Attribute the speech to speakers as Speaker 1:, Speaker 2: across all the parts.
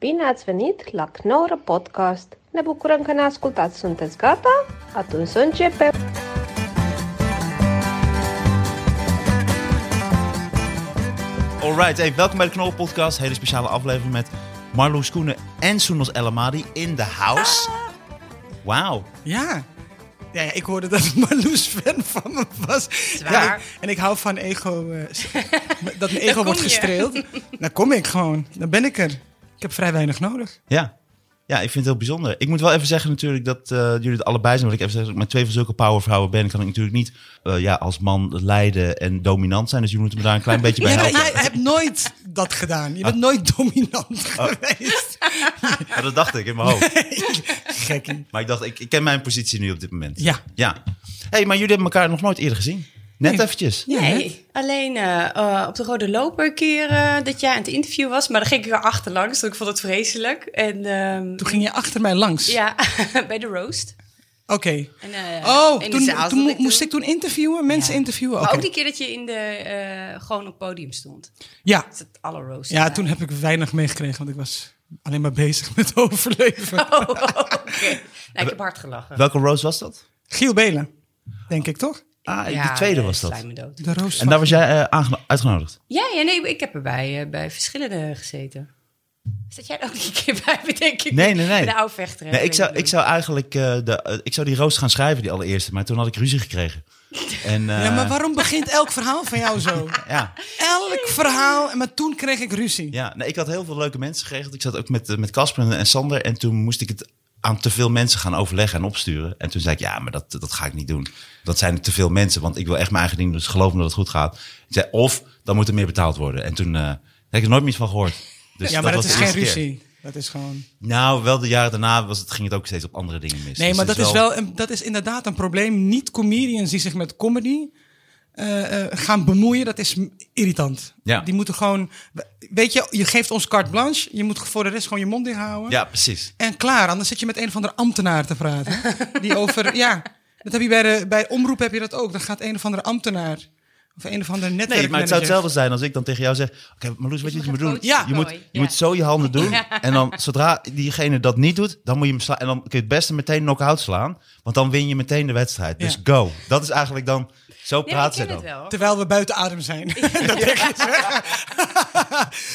Speaker 1: Bine ați venit la Knorr Podcast! Ne bucurăm că ne ascultați! Sunteți gata? Atunci să începem!
Speaker 2: Alright, hey, welkom bij de Knol Podcast. Hele speciale aflevering met Marloes Koenen en Soenos Elamadi in the house. Wauw.
Speaker 3: Ja. Ja, ja, ik hoorde dat Marloes fan van me was. Ja, ik- en ik hou van ego. eh, s- dat mijn ego
Speaker 4: kom
Speaker 3: wordt
Speaker 4: je.
Speaker 3: gestreeld. Dan kom ik gewoon. Dan ben ik er. Ik heb vrij weinig nodig.
Speaker 2: Ja. ja, ik vind het heel bijzonder. Ik moet wel even zeggen natuurlijk dat eh, jullie het allebei zijn. Want ik even zeg, dat ik met twee van zulke powervrouwen ben, kan ik natuurlijk niet eh, ja, als man leiden en dominant zijn. Dus jullie moeten me daar een klein beetje bij
Speaker 3: Jij bent,
Speaker 2: helpen.
Speaker 3: jij hebt nooit dat gedaan. Je bent nooit dominant geweest.
Speaker 2: Ja, dat dacht ik in mijn hoofd.
Speaker 3: Gekkie.
Speaker 2: Maar ik dacht, ik, ik ken mijn positie nu op dit moment.
Speaker 3: Ja.
Speaker 2: ja. hey, maar jullie hebben elkaar nog nooit eerder gezien. Net eventjes.
Speaker 3: Ja, hè?
Speaker 4: Nee, alleen eh, eh, op de Rode Loper een keer eh, dat jij aan het interview was. Maar dan ging ik weer achterlangs, want ik vond het vreselijk. En ehm,
Speaker 3: Toen ging je achter mij langs.
Speaker 4: ja, bij de roast.
Speaker 3: Oké.
Speaker 4: En, eh,
Speaker 3: Oh,
Speaker 4: in de
Speaker 3: toen,
Speaker 4: zaal
Speaker 3: toen
Speaker 4: zat
Speaker 3: mo- moest ik toen interviewen, mensen
Speaker 4: Ja.
Speaker 3: interviewen.
Speaker 2: oh,
Speaker 4: Maar
Speaker 3: Oké.
Speaker 4: ook die keer dat je in de, eh, gewoon op het podium stond.
Speaker 3: Ja.
Speaker 4: Dat is het alle roast.
Speaker 3: ja, toen heb ik weinig meegekregen, want ik was alleen maar bezig met overleven.
Speaker 4: Oh, oké. Nou, ik heb hard gelachen.
Speaker 2: Welke Rose was dat?
Speaker 3: Giel Belen, denk ik toch?
Speaker 2: Ah,
Speaker 4: Ja, eh,
Speaker 2: de tweede
Speaker 4: nee,
Speaker 2: was dat.
Speaker 4: slijm me dood.
Speaker 3: De roos.
Speaker 2: En daar was jij eh, aangeno- uitgenodigd.
Speaker 4: Ja, ja, nee, ik heb erbij bij, bij verschillende gezeten. Zat jij er ook niet een keer bij, bedenk ik?
Speaker 2: Nee, nee, nee.
Speaker 4: De oude vechter. hè,
Speaker 2: Nee, ik zou,
Speaker 4: weet
Speaker 2: ik zou eigenlijk eh, de, eh, ik zou die roost gaan schrijven, die allereerste. Maar toen had ik ruzie gekregen. En, eh,
Speaker 3: Ja, maar waarom begint elk verhaal van jou zo?
Speaker 2: Ja,
Speaker 3: Elk verhaal, maar toen kreeg ik ruzie.
Speaker 2: ja. Nee, ik had heel veel leuke mensen geregeld. Ik zat ook met eh, met Casper en Sander. En toen moest ik het aan te veel mensen gaan overleggen en opsturen. En toen zei ik, ja, maar dat, dat ga ik niet doen. Dat zijn te veel mensen, want ik wil echt mijn eigen ding doen. Dus geloof me dat het goed gaat. Ik zei, of dan moet er meer betaald worden. En toen eh, heb ik er nooit meer iets van gehoord. Dus
Speaker 3: Ja, maar dat,
Speaker 2: was
Speaker 3: is
Speaker 2: de
Speaker 3: geen
Speaker 2: eerste keer.
Speaker 3: ruzie. Dat is gewoon.
Speaker 2: Nou, wel de jaren daarna was het, ging het ook steeds op andere dingen mis.
Speaker 3: Nee,
Speaker 2: Dus
Speaker 3: maar
Speaker 2: het
Speaker 3: dat is, wel een, dat is inderdaad een probleem. Niet comedians die zich met comedy eh, eh, gaan bemoeien, dat is m- irritant.
Speaker 2: Ja.
Speaker 3: Die moeten gewoon. Weet je, je geeft ons carte blanche. Je moet voor de rest gewoon je mond dicht houden.
Speaker 2: Ja, precies.
Speaker 3: En klaar, anders zit je met een of andere ambtenaar te praten. die over. Ja, dat heb je bij, de, bij omroep heb je dat ook. Dan gaat een of andere ambtenaar. Of een of andere netwerk.
Speaker 2: Nee, maar het zou hetzelfde zijn als ik dan tegen jou zeg... Oké, Marloes, wat je moet doen?
Speaker 4: Ja.
Speaker 2: je, moet,
Speaker 4: Ja.
Speaker 2: je moet zo je handen doen. En dan, zodra diegene dat niet doet, dan moet je hem slaan. En dan kun je het beste meteen knock-out slaan. Want dan win je meteen de wedstrijd. Dus
Speaker 3: Ja.
Speaker 2: go. Dat is eigenlijk dan... Zo
Speaker 4: Nee, maar ik
Speaker 2: praat
Speaker 4: ken
Speaker 2: ze
Speaker 4: het
Speaker 2: dan.
Speaker 4: wel.
Speaker 3: Terwijl we buiten adem zijn.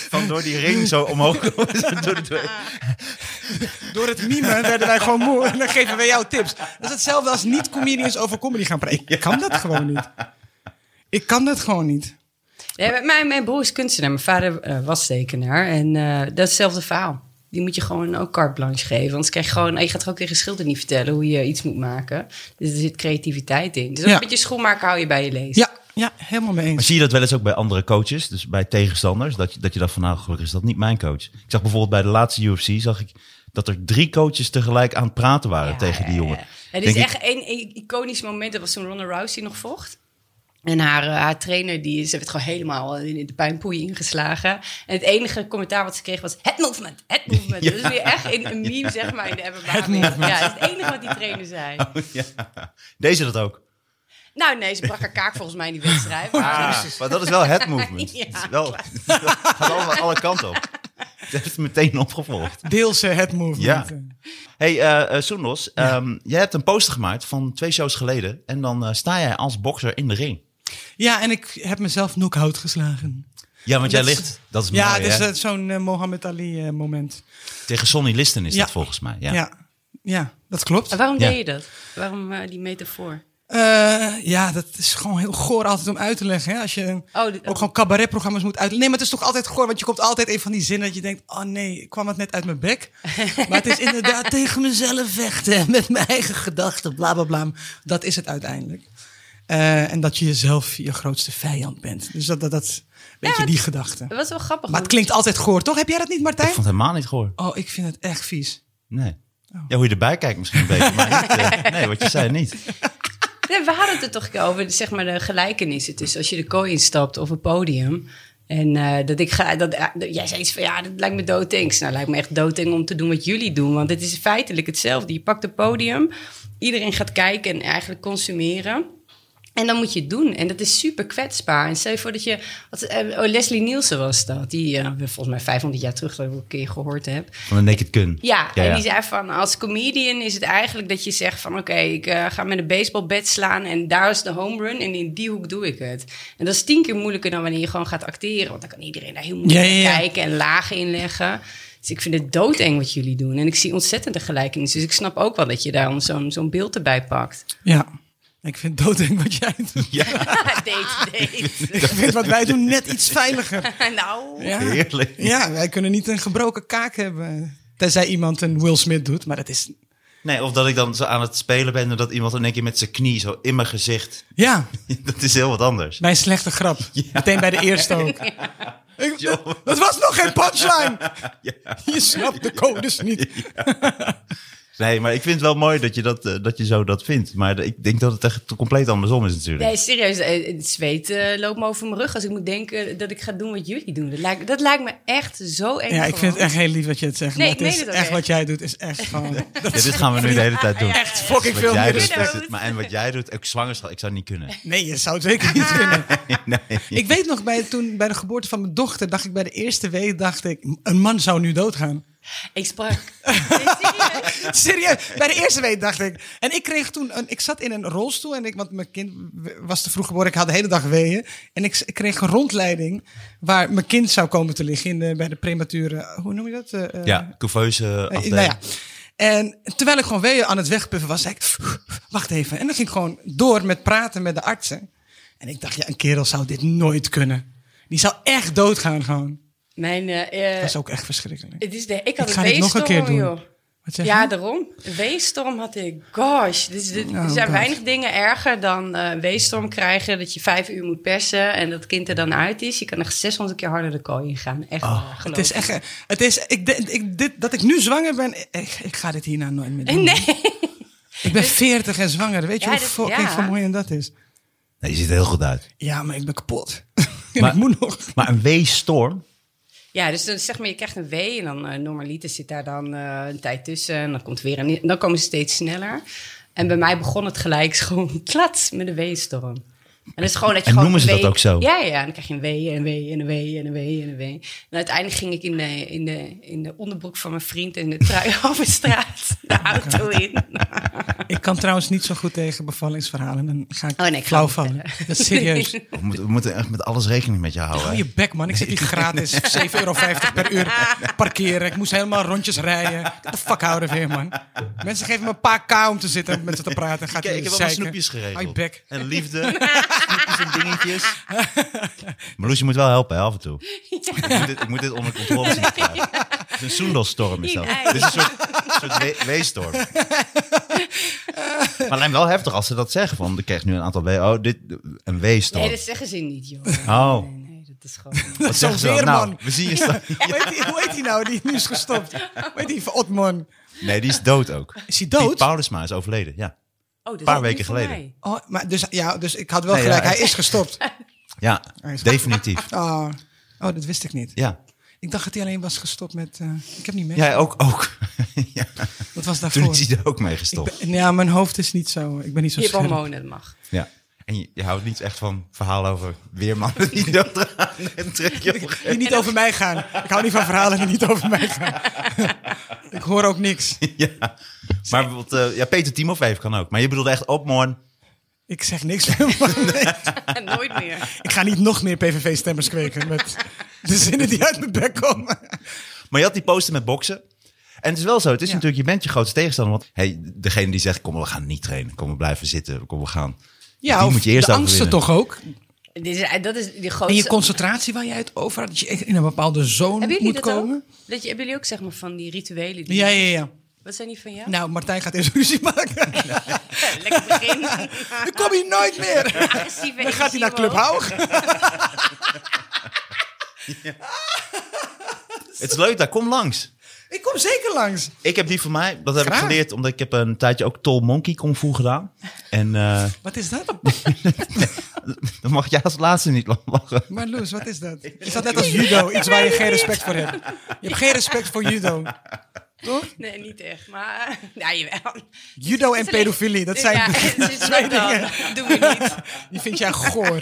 Speaker 2: Van door die ring zo omhoog. door de-
Speaker 3: Door het mimen werden wij gewoon moe en dan geven wij jou tips. Dat is hetzelfde als niet-comedians over comedy gaan praten. Ik kan dat gewoon niet. Ik kan dat gewoon niet.
Speaker 4: Nee, maar mijn, mijn broer is kunstenaar. Mijn vader eh, was tekenaar. En eh, dat is hetzelfde verhaal. Die moet je gewoon ook carte blanche geven. Anders krijg je gewoon... eh, Je gaat toch ook tegen schilder niet vertellen hoe je iets moet maken. Dus er zit creativiteit in. Dus ook
Speaker 3: Ja.
Speaker 4: een beetje schoenmaken hou je bij je lees.
Speaker 3: Ja, ja helemaal mee
Speaker 2: Maar
Speaker 3: eens.
Speaker 2: zie je dat wel eens ook bij andere coaches? Dus bij tegenstanders? Dat je, dat je dacht van nou, gelukkig is dat niet mijn coach. Ik zag bijvoorbeeld bij de laatste UFC... zag ik dat er drie coaches tegelijk aan het praten waren
Speaker 4: Ja,
Speaker 2: tegen die
Speaker 4: ja,
Speaker 2: jongen.
Speaker 4: ja. Het
Speaker 2: Denk
Speaker 4: is
Speaker 2: ik,
Speaker 4: echt één één iconisch moment. Dat was toen Ronda Rousey nog vocht. En haar, eh, haar trainer, die, ze werd gewoon helemaal eh, in de puinpoei ingeslagen. En het enige commentaar wat ze kreeg was... Het movement, het movement. Dat is weer echt in een meme, zeg maar, in de MMA. Ja, dat is het enige wat die trainer zei.
Speaker 2: Deze dat ook.
Speaker 4: Nou, nee, ze brak haar kaak volgens mij in die wedstrijd. Maar-
Speaker 3: Ah.
Speaker 2: Maar dat is wel het movement.
Speaker 4: Ah. Ja,
Speaker 2: Het is wel, gaat allemaal alle kanten op. Dat heeft misschien opgevolgd.
Speaker 3: Deels eh, het movement.
Speaker 2: Ja. Hey, eh eh, Soenos, ehm, jij hebt een poster gemaakt van twee shows geleden. En dan eh, sta jij als bokser in de ring.
Speaker 3: Ja, en ik heb mezelf knock-out geslagen.
Speaker 2: Ja, want jij
Speaker 3: Dat is-
Speaker 2: ligt. Dat is mooi,
Speaker 3: Ja,
Speaker 2: ja,
Speaker 3: het is eh, zo'n eh, Mohammed Ali eh, moment.
Speaker 2: Tegen Sonny Liston is
Speaker 3: Ja.
Speaker 2: dat volgens mij. Ja.
Speaker 3: Ja. Ja. dat klopt.
Speaker 4: Maar waarom
Speaker 2: Ja.
Speaker 4: deed je dat? Waarom eh, die metafoor?
Speaker 3: Eh, ja, dat is gewoon heel goor altijd om uit te leggen. Hè? Als je
Speaker 4: Oh, dit-
Speaker 3: ook gewoon cabaretprogramma's moet uitleggen. Nee, maar het is toch altijd goor, want je komt altijd in van die zinnen dat je denkt... oh nee, ik kwam het net uit mijn bek. maar het is inderdaad tegen mezelf vechten met mijn eigen gedachten, bla bla bla. Dat is het uiteindelijk. Eh, en dat je jezelf je grootste vijand bent. Dus dat, dat, dat beetje
Speaker 4: Ja,
Speaker 3: die
Speaker 4: het-
Speaker 3: gedachte.
Speaker 4: Dat was wel grappig.
Speaker 3: Maar het klinkt altijd goor, toch? Heb jij dat niet,
Speaker 2: Ik
Speaker 3: Martijn?
Speaker 2: vond het helemaal niet gehoord.
Speaker 3: Oh, ik vind het echt vies.
Speaker 2: Nee.
Speaker 4: Oh.
Speaker 2: Ja, hoe je erbij kijkt misschien een beetje, maar niet, eh, nee, wat je zei niet.
Speaker 4: Nee, we hadden het er toch een keer over, zeg maar, de gelijkenissen tussen als je de kooi instapt of een podium. En eh, dat ik ga, dat, eh, jij zei iets van ja, dat lijkt me doodeng. Nou, lijkt me echt doodeng om te doen wat jullie doen, want het is feitelijk hetzelfde. Je pakt een podium, iedereen gaat kijken en eigenlijk consumeren. En dan moet je het doen. En dat is super kwetsbaar. En stel je voor dat je... Wat, eh, oh, Leslie Nielsen was dat. Die eh, volgens mij 500 jaar terug dat ik een keer gehoord heb.
Speaker 2: Van een naked kun.
Speaker 4: Ja,
Speaker 2: ja,
Speaker 4: en die zei van als comedian is het eigenlijk dat je zegt van oké, ik eh, ga met een baseballbat slaan en daar is de home run en in die hoek doe ik het. En dat is tien keer moeilijker dan wanneer je gewoon gaat acteren, want dan kan iedereen daar heel moeilijk
Speaker 3: Ja, ja, ja.
Speaker 4: kijken en lagen inleggen. Dus ik vind het doodeng wat jullie doen. En ik zie ontzettende gelijkenis. Dus ik snap ook wel dat je daar zo'n zo'n beeld erbij pakt.
Speaker 3: Ja. Ik vind doodeng wat jij doet.
Speaker 4: date,
Speaker 3: Ik
Speaker 4: date.
Speaker 3: vind wat wij doen net iets veiliger.
Speaker 4: nou,
Speaker 3: Ja.
Speaker 2: Heerlijk.
Speaker 3: ja, wij kunnen niet een gebroken kaak hebben. Tenzij iemand een Will Smith doet, maar dat is...
Speaker 2: Nee, of dat ik dan zo aan het spelen ben en dat iemand in één keer met zijn knie zo in mijn gezicht.
Speaker 3: Ja,
Speaker 2: Dat is heel wat anders.
Speaker 3: mijn slechte grap. Meteen bij de eerste ook. Ik- dat, dat was nog geen punchline. Je snapt de codes niet.
Speaker 2: Nee, maar ik vind het wel mooi dat je, dat, eh, dat je zo dat vindt. Maar ik denk dat het echt compleet andersom is natuurlijk.
Speaker 4: Nee, serieus. eh, Het zweet eh, loopt me over mijn rug als ik moet denken dat ik ga doen wat jullie doen. Dat lijkt, dat lijkt me echt zo eng.
Speaker 3: Ja, ik vind
Speaker 4: gewoon.
Speaker 3: het echt heel lief dat je het zegt.
Speaker 4: Nee,
Speaker 3: maar
Speaker 4: ik
Speaker 3: het
Speaker 4: meen
Speaker 3: is
Speaker 4: het ook
Speaker 3: echt
Speaker 4: echt.
Speaker 3: wat jij doet is echt gewoon...
Speaker 2: Ja, dit gaan we nu de hele tijd doen.
Speaker 4: Echt
Speaker 3: fucking
Speaker 2: Wat
Speaker 3: veel
Speaker 2: jij
Speaker 3: meer
Speaker 2: doet,
Speaker 4: respect.
Speaker 2: is het- maar, en wat jij doet, ook zwangerschap, ik zou het niet kunnen.
Speaker 3: Nee, je zou het zeker niet kunnen. Ik weet nog, bij, toen, bij de geboorte van mijn dochter, dacht ik bij de eerste week, dacht ik, een man zou nu doodgaan.
Speaker 4: Ik sprak. Nee, serieus.
Speaker 3: Serieus, bij de eerste week dacht ik. En ik kreeg toen, een, ik zat in een rolstoel, en ik, want mijn kind was te vroeg geboren, ik had de hele dag weeën. En ik, s- ik kreeg een rondleiding waar mijn kind zou komen te liggen in de, bij de premature, hoe noem je dat? Eh, eh,
Speaker 2: Ja, couveuse
Speaker 3: eh,
Speaker 2: afdeling.
Speaker 3: nou ja. En terwijl ik gewoon weeën aan het wegpuffen was, zei ik, wacht even. En dan ging ik gewoon door met praten met de artsen. En ik dacht, ja, een kerel zou dit nooit kunnen. Die zou echt doodgaan gewoon.
Speaker 4: Mijn, eh, eh,
Speaker 3: Dat is ook echt verschrikkelijk.
Speaker 4: het is de, ik
Speaker 3: Ik
Speaker 4: had
Speaker 3: ga
Speaker 4: een
Speaker 3: dit nog een keer
Speaker 4: weestorm,
Speaker 3: doen.
Speaker 4: joh.
Speaker 3: Wat zeg
Speaker 4: Ja,
Speaker 3: je?
Speaker 4: daarom. Een weestorm had ik. Gosh, dit is- dit-
Speaker 3: Oh,
Speaker 4: er zijn
Speaker 3: God.
Speaker 4: weinig dingen erger dan eh, een weestorm krijgen. Dat je vijf uur moet persen en dat kind er dan uit is. Je kan er 600 keer harder de kooi in gaan. Echt. geloof
Speaker 3: Oh, Het is
Speaker 4: me.
Speaker 3: echt, eh, het is, ik, denk- ik, dit, dat ik nu zwanger ben, ik, ik ga dit hierna nooit meer doen.
Speaker 4: Nee. Dus-
Speaker 3: Ik ben veertig en zwanger, weet je
Speaker 4: Ja,
Speaker 3: hoe
Speaker 4: dit-
Speaker 3: fucking
Speaker 4: ja.
Speaker 3: vermoeiend dat is?
Speaker 2: Nee, je ziet er heel goed uit.
Speaker 3: Ja, maar ik ben kapot. en
Speaker 2: Maar-
Speaker 3: ik moet nog.
Speaker 2: Maar een weesstorm,
Speaker 4: Ja, dus dan zeg maar, je krijgt een W en dan eh, normaliter zit daar dan eh, een tijd tussen. En dan komt weer een, dan komen ze steeds sneller. En bij mij begon het gelijk gewoon klats met een W-storm. En, dat is gewoon dat je
Speaker 2: En
Speaker 4: gewoon
Speaker 2: noemen ze
Speaker 4: een
Speaker 2: dat
Speaker 4: W-
Speaker 2: ook zo?
Speaker 4: Ja, ja. En dan krijg je een W en een W en een W en een W en een W. En uiteindelijk ging ik in de, in de, in de onderbroek van mijn vriend en de trui over straat de auto in.
Speaker 3: Ik kan trouwens niet zo goed tegen bevallingsverhalen. Dan ga ik
Speaker 4: Oh, nee, ik ga
Speaker 3: flauw
Speaker 4: niet
Speaker 3: vallen.
Speaker 4: verder.
Speaker 3: Dat is serieus.
Speaker 2: we moeten, we moeten echt met alles rekening met je houden.
Speaker 3: Hou
Speaker 2: hè?
Speaker 3: je bek, man. Ik zit hier gratis. 7,50 euro per uur parkeren. Ik moest helemaal rondjes rijden. Get the fuck out of here, man. Mensen geven me een paar k om te zitten en met ze te praten. Gaat
Speaker 2: Kijk, ik
Speaker 3: jullie
Speaker 2: heb al mijn
Speaker 3: zeiken.
Speaker 2: snoepjes
Speaker 3: Hou je
Speaker 2: geregeld.
Speaker 3: bek.
Speaker 2: En liefde, snoepjes en dingetjes. Marloes, je moet wel helpen hè, af en toe. Ik, moet dit, ik moet dit onder controle zien te krijgen. Het is een soendelstorm is dat.
Speaker 4: Nee.
Speaker 2: Het is een soort, soort we- weestorm. Maar het lijkt me wel heftig als ze dat zeggen. Van, ik krijg nu een aantal we Oh, dit, een weestorm.
Speaker 4: Nee, dat zeggen ze niet, joh.
Speaker 2: Oh,
Speaker 4: Nee, nee, dat is gewoon... Oh,
Speaker 2: wat zeggen ze dan?
Speaker 3: weerman.
Speaker 2: Nou, we zien je staan.
Speaker 3: Hoe, heet die, hoe heet die nou? Die nu is gestopt. Hoe heet die van Otman?
Speaker 2: Nee, die is dood ook.
Speaker 3: Is hij
Speaker 2: Piet
Speaker 3: dood?
Speaker 2: Paulusma is overleden, ja.
Speaker 4: Oh, dat
Speaker 2: Paar
Speaker 4: is
Speaker 2: weken
Speaker 4: niet voor
Speaker 2: geleden.
Speaker 4: mij.
Speaker 3: Oh, maar dus, ja, dus ik had wel
Speaker 2: Nee, ja,
Speaker 3: gelijk.
Speaker 2: hij-
Speaker 3: Hij is gestopt.
Speaker 2: Ja,
Speaker 3: is-
Speaker 2: definitief.
Speaker 3: Oh, oh, dat wist ik niet.
Speaker 2: Ja,
Speaker 3: Ik dacht dat hij alleen was gestopt met... eh, ik heb niet mee.
Speaker 2: ja ook. ook. ja,
Speaker 3: Wat was
Speaker 2: toen
Speaker 3: daarvoor?
Speaker 2: is hij er ook mee
Speaker 3: Ik
Speaker 2: gestopt.
Speaker 3: ben, ja, mijn hoofd is niet zo... Ik ben niet zo
Speaker 4: Je hebt
Speaker 3: scherp.
Speaker 4: hormonen, dat mag.
Speaker 2: Ja. En je, je houdt niet echt van verhalen over weermannen die doodgaan en trek je op een gegeven
Speaker 3: die niet over mij gaan. Ik hou niet van verhalen die niet over mij gaan. ik hoor ook niks.
Speaker 2: moment- Ja. Maar bijvoorbeeld, eh, ja, Peter Timov heeft kan ook. Maar je bedoelde echt opmorn.
Speaker 3: Ik zeg niks meer. maar
Speaker 4: En nooit meer.
Speaker 3: ik ga niet nog meer PVV-stemmers kweken met de zinnen die uit mijn bek komen.
Speaker 2: Maar je had die poster met boksen. En het is wel zo, het is
Speaker 3: Ja.
Speaker 2: natuurlijk, je bent je grootste tegenstander. Want hey, degene die zegt, kom we gaan niet trainen. Kom we blijven zitten, kom we gaan. die moet je eerst
Speaker 3: de angsten
Speaker 2: overwinnen.
Speaker 3: toch ook.
Speaker 4: Dit is, dat is de
Speaker 3: En
Speaker 4: grootste...
Speaker 3: je concentratie waar jij het over had. Dat je echt in een bepaalde zone
Speaker 4: Hebben jullie
Speaker 3: moet
Speaker 4: dat
Speaker 3: komen.
Speaker 4: ook? Dat je, hebben jullie ook zeg maar van die rituelen? Die
Speaker 3: Ja, ja, ja.
Speaker 4: Wat zijn die van jou?
Speaker 3: Nou, Martijn gaat eerst ruzie maken.
Speaker 4: Lekker begin.
Speaker 3: Dan kom je nooit meer.
Speaker 4: Agressieve
Speaker 3: Dan gaat hij
Speaker 4: energie
Speaker 3: naar Club
Speaker 4: omhoog.
Speaker 3: Haug.
Speaker 2: Het is leuk daar, kom langs.
Speaker 3: Ik kom zeker langs.
Speaker 2: Ik heb die van mij, dat heb
Speaker 3: Graag.
Speaker 2: ik geleerd, omdat ik heb een tijdje ook Tol Monkey Kung Fu gedaan. En eh,
Speaker 3: Wat is dat?
Speaker 2: dan mag jij als laatste niet lachen.
Speaker 3: Maar Loes, wat is dat? Is dat net als judo? Iets waar je geen respect voor hebt. Je hebt geen respect voor judo. Toch?
Speaker 4: Nee, niet echt. Maar, nou, jawel.
Speaker 3: Judo en
Speaker 4: Het is alleen-
Speaker 3: pedofilie, dat zijn
Speaker 4: ja, het is
Speaker 3: twee
Speaker 4: dat dan.
Speaker 3: dingen.
Speaker 4: Doen we niet.
Speaker 3: Die vind jij goor.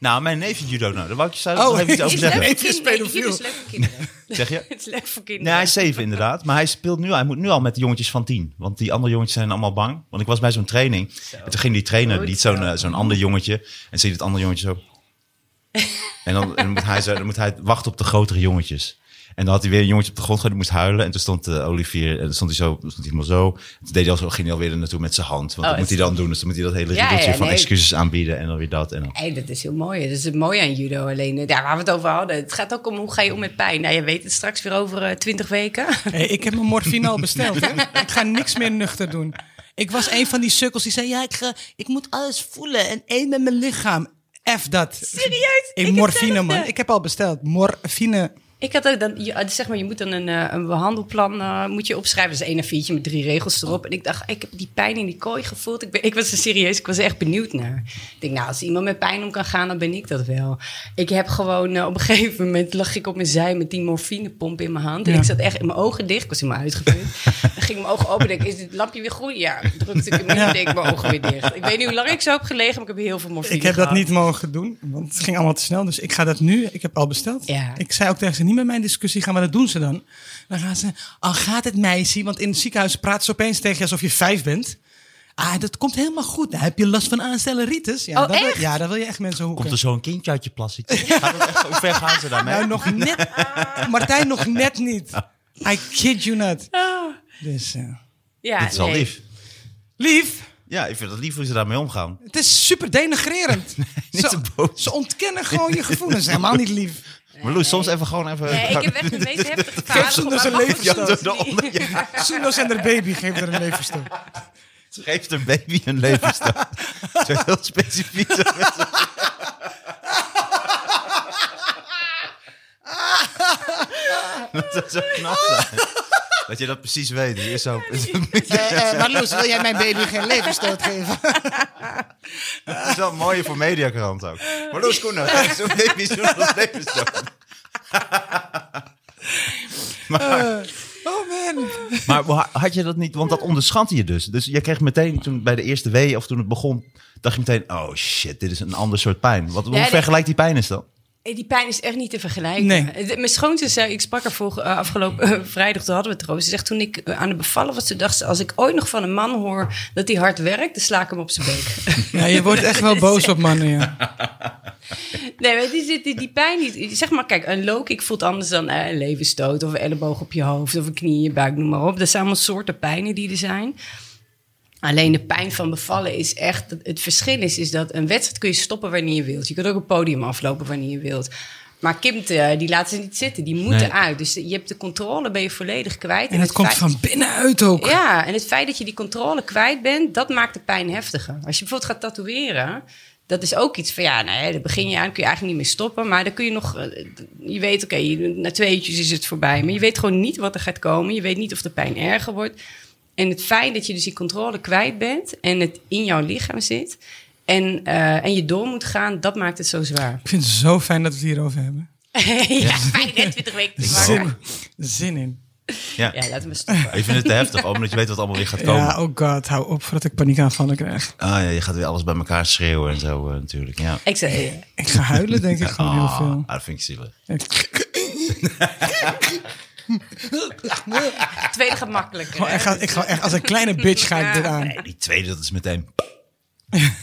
Speaker 2: Nou, mijn neefje judo, nou, daar wou ik je zo
Speaker 3: Oh,
Speaker 2: nog even iets
Speaker 3: is
Speaker 2: over
Speaker 3: dat-
Speaker 4: Het
Speaker 2: zeggen.
Speaker 3: Nee,
Speaker 4: leuk
Speaker 3: het
Speaker 4: voor
Speaker 3: is
Speaker 4: kinderen.
Speaker 3: pedofiel. Nou,
Speaker 4: Judo is leuk voor kinderen.
Speaker 2: Zeg je?
Speaker 4: Het is leuk voor
Speaker 2: Nee,
Speaker 4: kinderen.
Speaker 2: hij is zeven inderdaad. Maar hij speelt nu, hij moet nu al met de jongetjes van tien. Want die andere jongetjes zijn allemaal bang. Want ik was bij zo'n training. En toen ging die trainer,
Speaker 4: Goed
Speaker 2: liet zo'n
Speaker 4: zo.
Speaker 2: eh, zo'n ander jongetje. En zie je dat andere jongetje zo. en dan, en dan moet hij, zo, dan moet hij wachten op de grotere jongetjes. En dan had hij weer een jongetje op de grond gegooid, die moest huilen. En toen stond eh, Olivier, en toen stond hij zo, toen stond hij helemaal zo. Toen deed hij al zo, ging hij alweer er naartoe met zijn hand. Want
Speaker 4: Oh,
Speaker 2: dat moet hij dan doen. Dus dan moet hij dat hele
Speaker 4: Ja,
Speaker 2: riedeltje
Speaker 4: ja,
Speaker 2: van
Speaker 4: nee.
Speaker 2: excuses aanbieden en dan weer dat. En dan.
Speaker 4: Hey, dat is heel mooi. Dat is het mooie aan judo. Alleen eh, daar waar we het over hadden. Het gaat ook om hoe ga je om met pijn. Nou, je weet het straks weer over eh, twintig weken.
Speaker 3: Hey, ik heb mijn morfine al besteld. Hè? Ik ga niks meer nuchter doen. Ik was een van die sukkels die zei: ja, ik, ga, ik moet alles voelen en één met mijn lichaam. F dat.
Speaker 4: Serieus?
Speaker 3: Ik
Speaker 4: Ik
Speaker 3: morfine,
Speaker 4: hetzelfde.
Speaker 3: man. Ik heb al besteld. Morfine.
Speaker 4: Ik had ook dan, je, eh, zeg maar, je moet dan een, eh, een behandelplan eh, moet je opschrijven. Dat is één A4'tje met drie regels erop. En ik dacht, ik heb die pijn in die kooi gevoeld. Ik, ben, ik was er serieus, ik was er echt benieuwd naar. Ik denk, nou, als iemand met pijn om kan gaan, dan ben ik dat wel. Ik heb gewoon, eh, op een gegeven moment lag ik op mijn zij met die morfinepomp in mijn hand. En
Speaker 3: Ja.
Speaker 4: ik zat echt in mijn ogen dicht. Ik was helemaal uitgeput. Dan ging mijn ogen open. Denk, is dit lampje weer groen? Ja, drukte ik hem in en deed ik mijn ogen weer dicht. Ik weet niet hoe lang ik zo heb gelegen, maar ik heb heel veel morfine
Speaker 3: Ik heb dat
Speaker 4: gehad.
Speaker 3: niet mogen doen, want het ging allemaal te snel. Dus ik ga dat nu, ik heb al besteld.
Speaker 4: Ja.
Speaker 3: Ik zei ook tegen ze, niet met mijn discussie gaan, maar dat doen ze dan. Dan gaan ze, al gaat het meisje, want in het ziekenhuis praat ze opeens tegen je alsof je vijf bent. Ah, dat komt helemaal goed. Nou, heb je last van aanstelleritis? Ja,
Speaker 4: Oh,
Speaker 3: dat
Speaker 4: echt?
Speaker 3: Wil, ja, daar wil je echt mensen hoeken.
Speaker 2: Komt er zo'n kindje uit je plasje? Hoe ver gaan ze daarmee?
Speaker 3: Nou, nog net. Martijn, nog net niet. I kid you not. Dus, eh,
Speaker 4: Ah, Ja,
Speaker 2: Dit is al
Speaker 4: nee.
Speaker 2: lief.
Speaker 3: lief.
Speaker 2: Ja, ik vind het lief hoe ze daarmee omgaan.
Speaker 3: Het is super denigrerend.
Speaker 2: niet te
Speaker 3: ze,
Speaker 2: boos.
Speaker 3: ze ontkennen gewoon je gevoelens. Helemaal niet lief.
Speaker 2: Maar Loes, soms even gewoon even...
Speaker 4: Nee, Eh, ik heb echt de meest heftige
Speaker 3: Geef
Speaker 4: verhalen
Speaker 3: ze
Speaker 4: van
Speaker 3: dus
Speaker 4: mijn
Speaker 3: een
Speaker 4: man.
Speaker 3: levensstoot.
Speaker 2: de onder-
Speaker 3: Soenos en haar baby geeft er een levensstoot.
Speaker 2: Geeft een baby een levensstijl. Zo heel specifiek. zo met z'n- Dat zou zo knap zijn. Dat je dat precies weet. Hier is zo...
Speaker 3: maar Loes, Eh, wil jij mijn baby geen levensstoot geven?
Speaker 2: Dat is wel mooi voor Mediakrant ook. Maar Loes Koenen, geef zo'n baby zo'n levensstijl.
Speaker 3: Oh man.
Speaker 2: Maar wa- had je dat niet? Want dat onderschatte je dus. Dus je kreeg meteen toen bij de eerste wee of toen het begon, dacht je meteen: oh shit, dit is een ander soort pijn. Wat, hoe
Speaker 4: nee.
Speaker 2: vergelijk die pijn is dan?
Speaker 4: Hey, Die pijn is echt niet te vergelijken. Eh,
Speaker 3: Nee.
Speaker 4: De- Mijn schoonzus zei, ik sprak haar vorige, eh, afgelopen eh, vrijdag, toen hadden we het erover. Ze zegt, toen ik eh, aan de bevallen was, toen dacht ze, als ik ooit nog van een man hoor dat hij hard werkt, dan sla ik hem op zijn bek.
Speaker 3: Ja, je wordt echt wel boos op mannen, ja.
Speaker 4: nee, maar die, die, die, die pijn, die, zeg maar, kijk, een low-kick voelt anders dan eh, een levensstoot of een elleboog op je hoofd of een knie in je buik, noem maar op. Dat zijn allemaal soorten pijnen die er zijn. Alleen de pijn van bevallen is echt. Het verschil is, is dat een wedstrijd kun je stoppen wanneer je wilt. Je kunt ook een podium aflopen wanneer je wilt. Maar Kimt, eh, die laten ze niet zitten. Die moeten
Speaker 2: Nee.
Speaker 4: uit. Dus je hebt de controle, ben je volledig kwijt.
Speaker 3: En het komt
Speaker 4: feit-
Speaker 3: van binnenuit ook.
Speaker 4: Ja, en het feit dat je die controle kwijt bent, dat maakt de pijn heftiger. Als je bijvoorbeeld gaat tatoeëren, dat is ook iets van ja, nou ja, daar begin je aan, kun je eigenlijk niet meer stoppen. Maar dan kun je nog, eh, je weet, oké, na twee uurtjes is het voorbij. Maar je weet gewoon niet wat er gaat komen. Je weet niet of de pijn erger wordt. En het feit dat je dus die controle kwijt bent en het in jouw lichaam zit en, eh, en je door moet gaan, dat maakt het zo zwaar.
Speaker 3: Ik vind het zo fijn dat we het hierover hebben.
Speaker 4: ja, 25 weken te maken.
Speaker 3: Zin, zin in.
Speaker 2: Ja.
Speaker 4: Ja, laten we stoppen.
Speaker 2: Je vindt het te heftig, ook omdat je weet wat allemaal weer gaat komen.
Speaker 3: Ja, oh god, hou op voordat ik paniekaanvallen krijg.
Speaker 2: Ah, ja, je gaat weer alles bij elkaar schreeuwen en zo eh, natuurlijk. Ja.
Speaker 4: Ik zei,
Speaker 3: Ik ga huilen, denk ik, gewoon heel
Speaker 2: Ah,
Speaker 3: veel.
Speaker 2: ah, dat vind ik zielig.
Speaker 3: Ik-
Speaker 4: het tweede gaat makkelijker.
Speaker 3: gewoon,
Speaker 4: hè?
Speaker 3: echt, als- ik ga echt als een kleine bitch ga ik dit aan.
Speaker 2: Nee, die tweede, dat is meteen.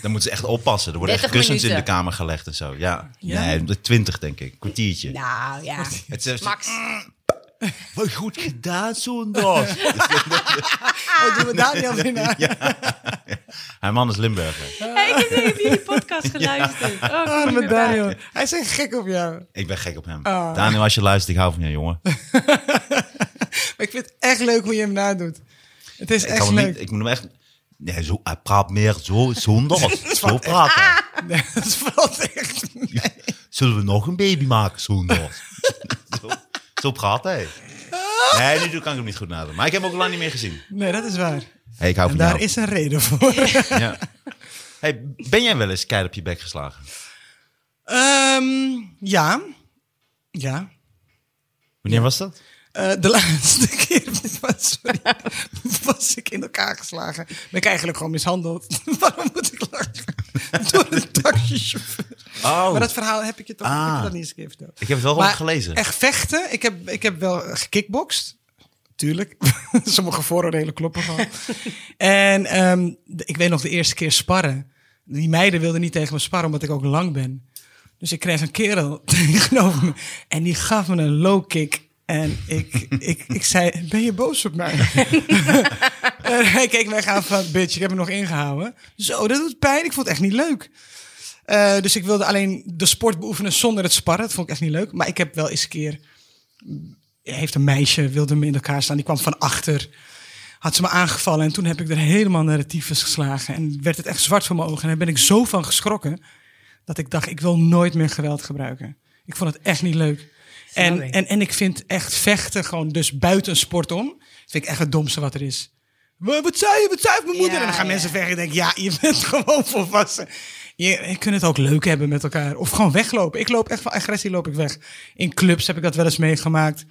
Speaker 2: Dan moeten ze echt oppassen. Er worden echt
Speaker 4: 30
Speaker 2: kussens in
Speaker 4: minuten.
Speaker 2: de kamer gelegd en zo. Ja, nee, twintig denk ik. Kwartiertje.
Speaker 4: Nou ja,
Speaker 2: Het is Ah.
Speaker 4: Max.
Speaker 2: Wat goed gedaan, zondag.
Speaker 3: Oh, doen we Daniel weer naar?
Speaker 2: Haar man is Limburger.
Speaker 4: Hey, ik heb tegen jullie podcast geluisterd. Oh,
Speaker 2: Ah,
Speaker 4: ik kom
Speaker 3: Arme
Speaker 4: niet meer bij.
Speaker 3: Ah, Daniel. Hij is echt gek op jou.
Speaker 2: Ik ben gek op hem. Daniel, als je luistert, ik hou van je, jongen.
Speaker 3: Maar ik vind het echt leuk hoe je hem nadoet. Het is
Speaker 2: Ik,
Speaker 3: echt
Speaker 2: kan hem
Speaker 3: leuk.
Speaker 2: niet, ik moet hem echt... Nee, zo, hij praat meer zo zonder. Zo praten.
Speaker 3: Nee, dat valt echt mee.
Speaker 2: Zullen we nog een baby maken zonder? zo, zo praat hij. Nee, nu kan ik hem niet goed nadoen. Maar ik heb hem ook al lang niet meer gezien.
Speaker 3: Nee, dat is waar. Nou.
Speaker 2: Hey, ik hou
Speaker 3: En
Speaker 2: van
Speaker 3: daar
Speaker 2: jou.
Speaker 3: is een reden voor.
Speaker 2: Ja. Hey, ben jij wel eens keihard op je bek geslagen?
Speaker 3: Ehm, ja. Ja.
Speaker 2: Wanneer was dat?
Speaker 3: Eh, de laatste keer was, sorry, was ik in elkaar geslagen. Ben ik eigenlijk gewoon mishandeld. Waarom moet ik lachen? Door een taxichauffeur.
Speaker 2: Oh.
Speaker 3: Maar dat verhaal heb ik je toch
Speaker 2: Ah.
Speaker 3: heb ik dat niet eens een keer verteld.
Speaker 2: Ik heb het wel
Speaker 3: Maar
Speaker 2: gewoon gelezen.
Speaker 3: Echt vechten. Ik heb, ik heb wel gekickboxed. Tuurlijk. Sommige vooroordelen kloppen gewoon. en ehm, de- ik weet nog de eerste keer sparren. Die meiden wilden niet tegen me sparren, omdat ik ook lang ben. Dus ik kreeg een kerel tegenover me. En die gaf me een low kick. En ik, ik, ik zei, ben je boos op mij? en hij keek mij aan van, bitch, ik heb hem nog ingehouden. Zo, dat doet pijn. Ik vond het echt niet leuk. Eh, dus ik wilde alleen de sport beoefenen zonder het sparren. Dat vond ik echt niet leuk. Maar ik heb wel eens een keer... Heeft een meisje, wilde me in elkaar staan. Die kwam van achter. Had ze me aangevallen. En toen heb ik er helemaal naar de tyfus geslagen. En werd het echt zwart voor mijn ogen. En daar ben ik zo van geschrokken. Dat ik dacht, ik wil nooit meer geweld gebruiken. Ik vond het echt niet leuk. En,
Speaker 4: ik.
Speaker 3: en, en ik vind echt vechten gewoon dus buiten sport om. Vind ik echt het domste wat er is. Wa- Wat zei je? Wat zei mijn moeder?
Speaker 4: Ja,
Speaker 3: en dan gaan
Speaker 4: ja.
Speaker 3: mensen vechten. Ik denk, ja, je bent gewoon volwassen. Je, je kunt het ook leuk hebben met elkaar. Of gewoon weglopen. Ik loop echt van agressie loop ik weg. In clubs heb ik dat wel eens meegemaakt.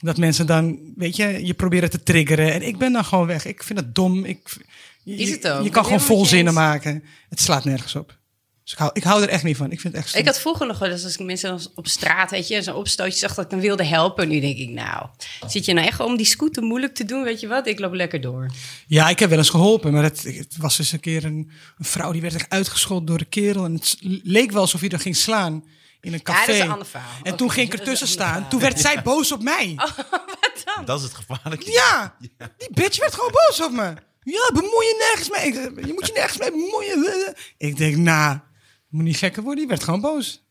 Speaker 3: Dat mensen dan, weet je, je proberen te triggeren. En ik ben dan gewoon weg. Ik vind het dom. Ik, je,
Speaker 4: Is het ook?
Speaker 3: je- Je
Speaker 4: Ik
Speaker 3: kan gewoon
Speaker 4: ben helemaal met je
Speaker 3: volzinnen
Speaker 4: eens.
Speaker 3: maken. Het slaat nergens op. Dus ik hou, ik hou er echt niet van. Ik vind het echt stom.
Speaker 4: Ik had vroeger nog wel eens, als ik mensen dan op straat, weet je, zo'n opstootje zag dat ik dan wilde helpen. Nu denk ik, nou, zit je nou echt om die scooter moeilijk te doen, weet je wat? Ik loop lekker door.
Speaker 3: Ja, ik heb wel eens geholpen, maar het, het was dus een keer een, een vrouw die werd echt uitgescholden door een kerel. En het s- leek wel alsof hij er ging slaan in een café.
Speaker 4: dat is een ander verhaal.
Speaker 3: En
Speaker 4: Oké,
Speaker 3: toen ging ik
Speaker 4: dat is
Speaker 3: ertussen
Speaker 4: een ander
Speaker 3: staan.
Speaker 4: verhaal. Oh.
Speaker 3: Toen werd zij boos op mij.
Speaker 2: Dat is het gevaarlijke.
Speaker 3: Ja, die bitch werd gewoon boos op me. Ja, bemoei je nergens mee. Ik- eh, Je moet je nergens mee bemoeien. Ik denk, nou, moet niet gekker worden. Die werd gewoon boos.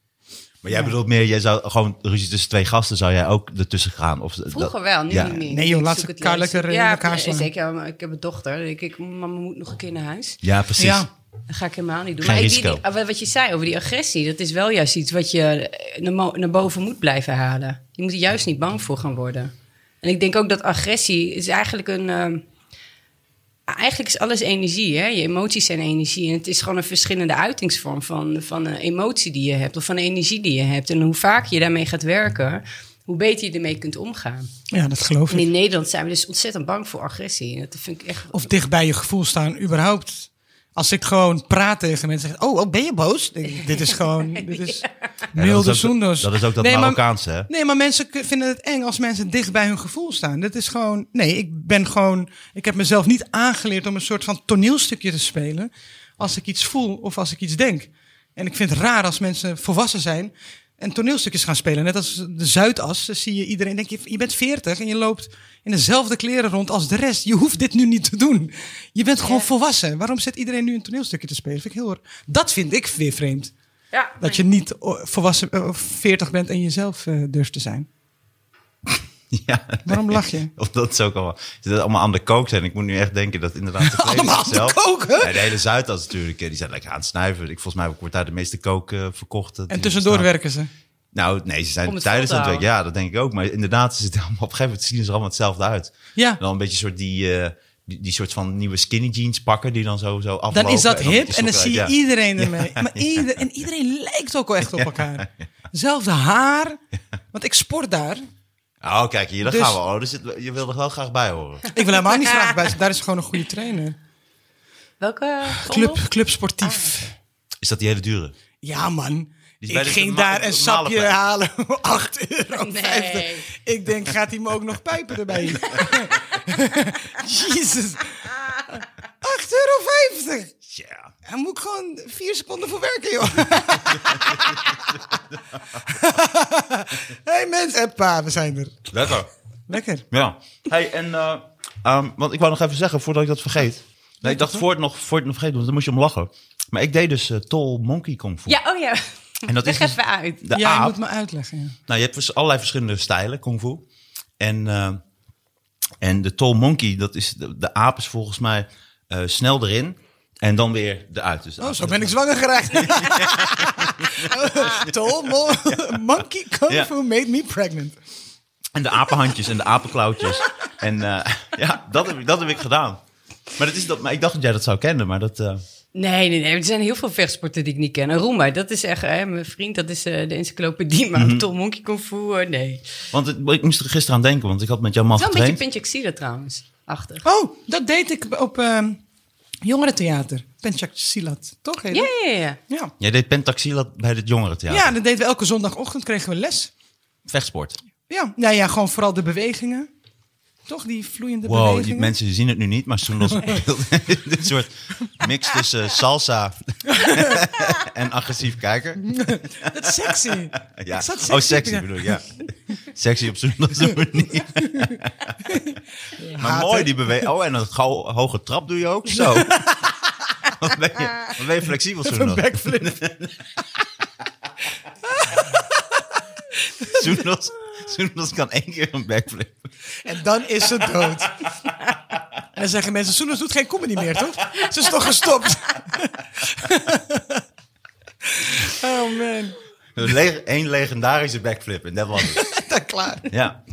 Speaker 2: Maar jij bedoelt meer, jij zou gewoon ruzie tussen twee gasten, zou jij ook ertussen gaan? Of,
Speaker 4: Vroeger
Speaker 2: dat-
Speaker 4: wel, nu
Speaker 2: ja.
Speaker 4: niet meer.
Speaker 3: Nee joh,
Speaker 4: Ik
Speaker 3: laat
Speaker 4: zoek
Speaker 3: ze
Speaker 4: het
Speaker 3: elkaar
Speaker 4: leukste.
Speaker 3: lekker in
Speaker 4: ja,
Speaker 3: elkaar
Speaker 4: nee,
Speaker 3: slaan.
Speaker 4: zeker. maar Ik heb een dochter, dan denk ik, mama moet nog een keer naar huis.
Speaker 2: Ja, precies.
Speaker 3: Ja.
Speaker 4: Dat ga ik helemaal niet doen.
Speaker 2: Geen
Speaker 4: maar ik- die-
Speaker 2: risico.
Speaker 4: die- wat- wat je zei over die agressie, dat is wel juist iets wat je eh, naar mo- naar boven moet blijven halen. Je moet er juist niet bang voor gaan worden. En ik denk ook dat agressie is eigenlijk een. ehm, eigenlijk is alles energie. Hè? Je emoties zijn energie. En het is gewoon een verschillende uitingsvorm van, van een emotie die je hebt of van een energie die je hebt. En hoe vaak je daarmee gaat werken, hoe beter je ermee kunt omgaan.
Speaker 3: Ja, dat geloof
Speaker 4: En
Speaker 3: ik.
Speaker 4: in Nederland zijn we dus ontzettend bang voor agressie. En dat vind ik echt.
Speaker 3: Of dicht bij je gevoel staan, überhaupt. Als ik gewoon praat tegen mensen, zeg, oh, oh ben je boos? Dit- Dit is gewoon, dit is
Speaker 2: Ja, dat is
Speaker 3: milde
Speaker 2: ook-
Speaker 3: zoenders.
Speaker 2: Dat is ook dat
Speaker 3: Nee, maar-
Speaker 2: Marokkaanse, hè?
Speaker 3: Nee, maar mensen k- vinden het eng als mensen dicht bij hun gevoel staan. Dat is gewoon. Nee, ik ben gewoon. Ik heb mezelf niet aangeleerd om een soort van toneelstukje te spelen. Als ik iets voel of als ik iets denk. En ik vind het raar als mensen volwassen zijn en toneelstukjes gaan spelen. Net als de Zuidas dan zie je iedereen. Denk je, je bent 40 en je loopt in dezelfde kleren rond als de rest. Je hoeft dit nu niet te doen. Je bent gewoon volwassen. Waarom zit iedereen nu een toneelstukje te spelen? Vind ik heel, raar. dat vind ik weer vreemd.
Speaker 4: Ja,
Speaker 3: Dat je niet oh, volwassen eh, of 40 bent en jezelf eh, durft te zijn.
Speaker 2: Ja.
Speaker 3: Waarom lach je?
Speaker 2: Of dat is ook allemaal, dat het allemaal aan de kook zijn. Ik moet nu echt denken dat inderdaad... de
Speaker 3: Allemaal
Speaker 2: Vlemingen
Speaker 3: aan de kook, hè?
Speaker 2: Nee, de hele Zuidas natuurlijk, eh, die zijn lekker aan het snuiven. Ik, volgens mij wordt daar de meeste kook eh, verkocht. eh, die
Speaker 3: En tussendoor
Speaker 2: bestaan.
Speaker 3: werken ze.
Speaker 2: Nou, nee, ze
Speaker 4: Om
Speaker 2: zijn
Speaker 4: het
Speaker 2: tijdens
Speaker 4: vol
Speaker 2: het
Speaker 4: te
Speaker 2: werk. Ja, dat denk ik ook. Maar inderdaad, ze zitten allemaal, op een gegeven moment zien ze er allemaal hetzelfde uit.
Speaker 3: Ja.
Speaker 2: Dan een beetje soort die, eh, die, die soort van nieuwe skinny jeans pakken die dan zo, zo aflopen.
Speaker 3: Dan is dat
Speaker 2: dan
Speaker 3: hip
Speaker 2: die
Speaker 3: en dan
Speaker 2: sokken
Speaker 3: zie je
Speaker 2: uit. Ja.
Speaker 3: iedereen ermee. Maar ieder, en iedereen lijkt ook wel echt op elkaar. Zelfde haar. Want ik sport daar.
Speaker 2: Oh, kijk, hier, daar
Speaker 3: Dus-
Speaker 2: gaan we. Oh, dus het- je wil er wel graag bij horen.
Speaker 3: Ik wil helemaal niet graag bij. Daar is gewoon een goede trainer.
Speaker 4: Welke
Speaker 3: Club,
Speaker 4: gondel?
Speaker 3: club sportief.
Speaker 2: Is dat die hele dure?
Speaker 3: Ja, man.
Speaker 2: is
Speaker 3: Ik
Speaker 2: Dus bij de
Speaker 3: ging
Speaker 2: norma-
Speaker 3: daar een
Speaker 2: normale
Speaker 3: sapje
Speaker 2: prijs.
Speaker 3: halen. 8 euro.
Speaker 4: Nee.
Speaker 3: 50. Ik denk, gaat hij me ook nog pijpen erbij? Jezus. 8,50 euro. 50.
Speaker 2: Ja.
Speaker 3: Hij moet ik gewoon vier seconden voor werken, joh. hey mensen, en pa, we zijn er.
Speaker 2: Lekker.
Speaker 3: Lekker.
Speaker 2: Ja. Hey, en, eh, ehm, want ik wou nog even zeggen, voordat ik dat vergeet. Nee, ik dacht voor het nog, voor het nog vergeten, want dan moest je om lachen. Maar ik deed dus eh, Tol Monkey Kung Fu.
Speaker 4: Ja, oh ja.
Speaker 2: En dat is
Speaker 4: Leg
Speaker 2: dus
Speaker 4: even uit.
Speaker 2: de
Speaker 3: ja, je
Speaker 2: aap.
Speaker 3: moet me uitleggen. ja.
Speaker 2: Nou, je hebt vers- allerlei verschillende stijlen Kung Fu. En eh, En de tall monkey, dat is de, de aap is volgens mij eh, snel erin en dan weer eruit. Dus de
Speaker 3: Oh,
Speaker 2: aap-
Speaker 3: zo ben ik zwanger geraakt. Tol, mo- monkey kung
Speaker 2: Ja.
Speaker 3: fu made me pregnant.
Speaker 2: En de apenhandjes en de apenklauwtjes. en eh, ja, dat heb, ik, dat heb ik gedaan. Maar, dat is dat, maar ik dacht dat jij dat zou kennen, maar dat... eh,
Speaker 4: Nee, nee, nee. Er zijn heel veel vechtsporten die ik niet ken. Een Roomba, dat is echt... Hè, mijn vriend, dat is eh, de encyclopedie.
Speaker 2: Mhm.
Speaker 4: Maar Tom Monkey Kung Fu, eh, nee.
Speaker 2: want het- ik moest er gisteren aan denken, want ik had met jouw man
Speaker 4: Wel een beetje
Speaker 2: getraind.
Speaker 4: Pintje Xila trouwens. Achter.
Speaker 3: Oh, dat deed ik op ehm jongerentheater. Penchak Silat, toch? heet
Speaker 4: Ja,
Speaker 3: het?
Speaker 4: ja, ja.
Speaker 3: Ja.
Speaker 2: Jij deed pentaxila bij het jongerentheater.
Speaker 3: ja, dat deden we elke zondagochtend, kregen we les.
Speaker 2: Vechtsport.
Speaker 3: Ja, nou ja, gewoon vooral de bewegingen. Toch, die vloeiende
Speaker 2: Wow, die
Speaker 3: bewegingen.
Speaker 2: mensen zien het nu niet, maar Soendos speelt dit soort mix tussen salsa en agressief kijker.
Speaker 3: Dat is sexy.
Speaker 2: Ja.
Speaker 3: Ik zat
Speaker 2: oh,
Speaker 3: Mhm. sexy
Speaker 2: sexy
Speaker 3: te-
Speaker 2: bedoel ik, ja. Sexy op Soendos manier. Maar mooi die beweging. Oh, en een gauw, hoge trap doe je ook zo. Wat ben je, wat ben je flexibel,
Speaker 3: Een
Speaker 2: Soendos?
Speaker 3: backflip.
Speaker 2: Soendos, Soendos kan één keer een backflip.
Speaker 3: En dan is ze dood. En dan zeggen mensen, Soenus doet geen comedy meer, toch? Ze is toch gestopt? oh man.
Speaker 2: Een le- één legendarische backflip en dat was het.
Speaker 3: Dat klaar.
Speaker 2: Ja.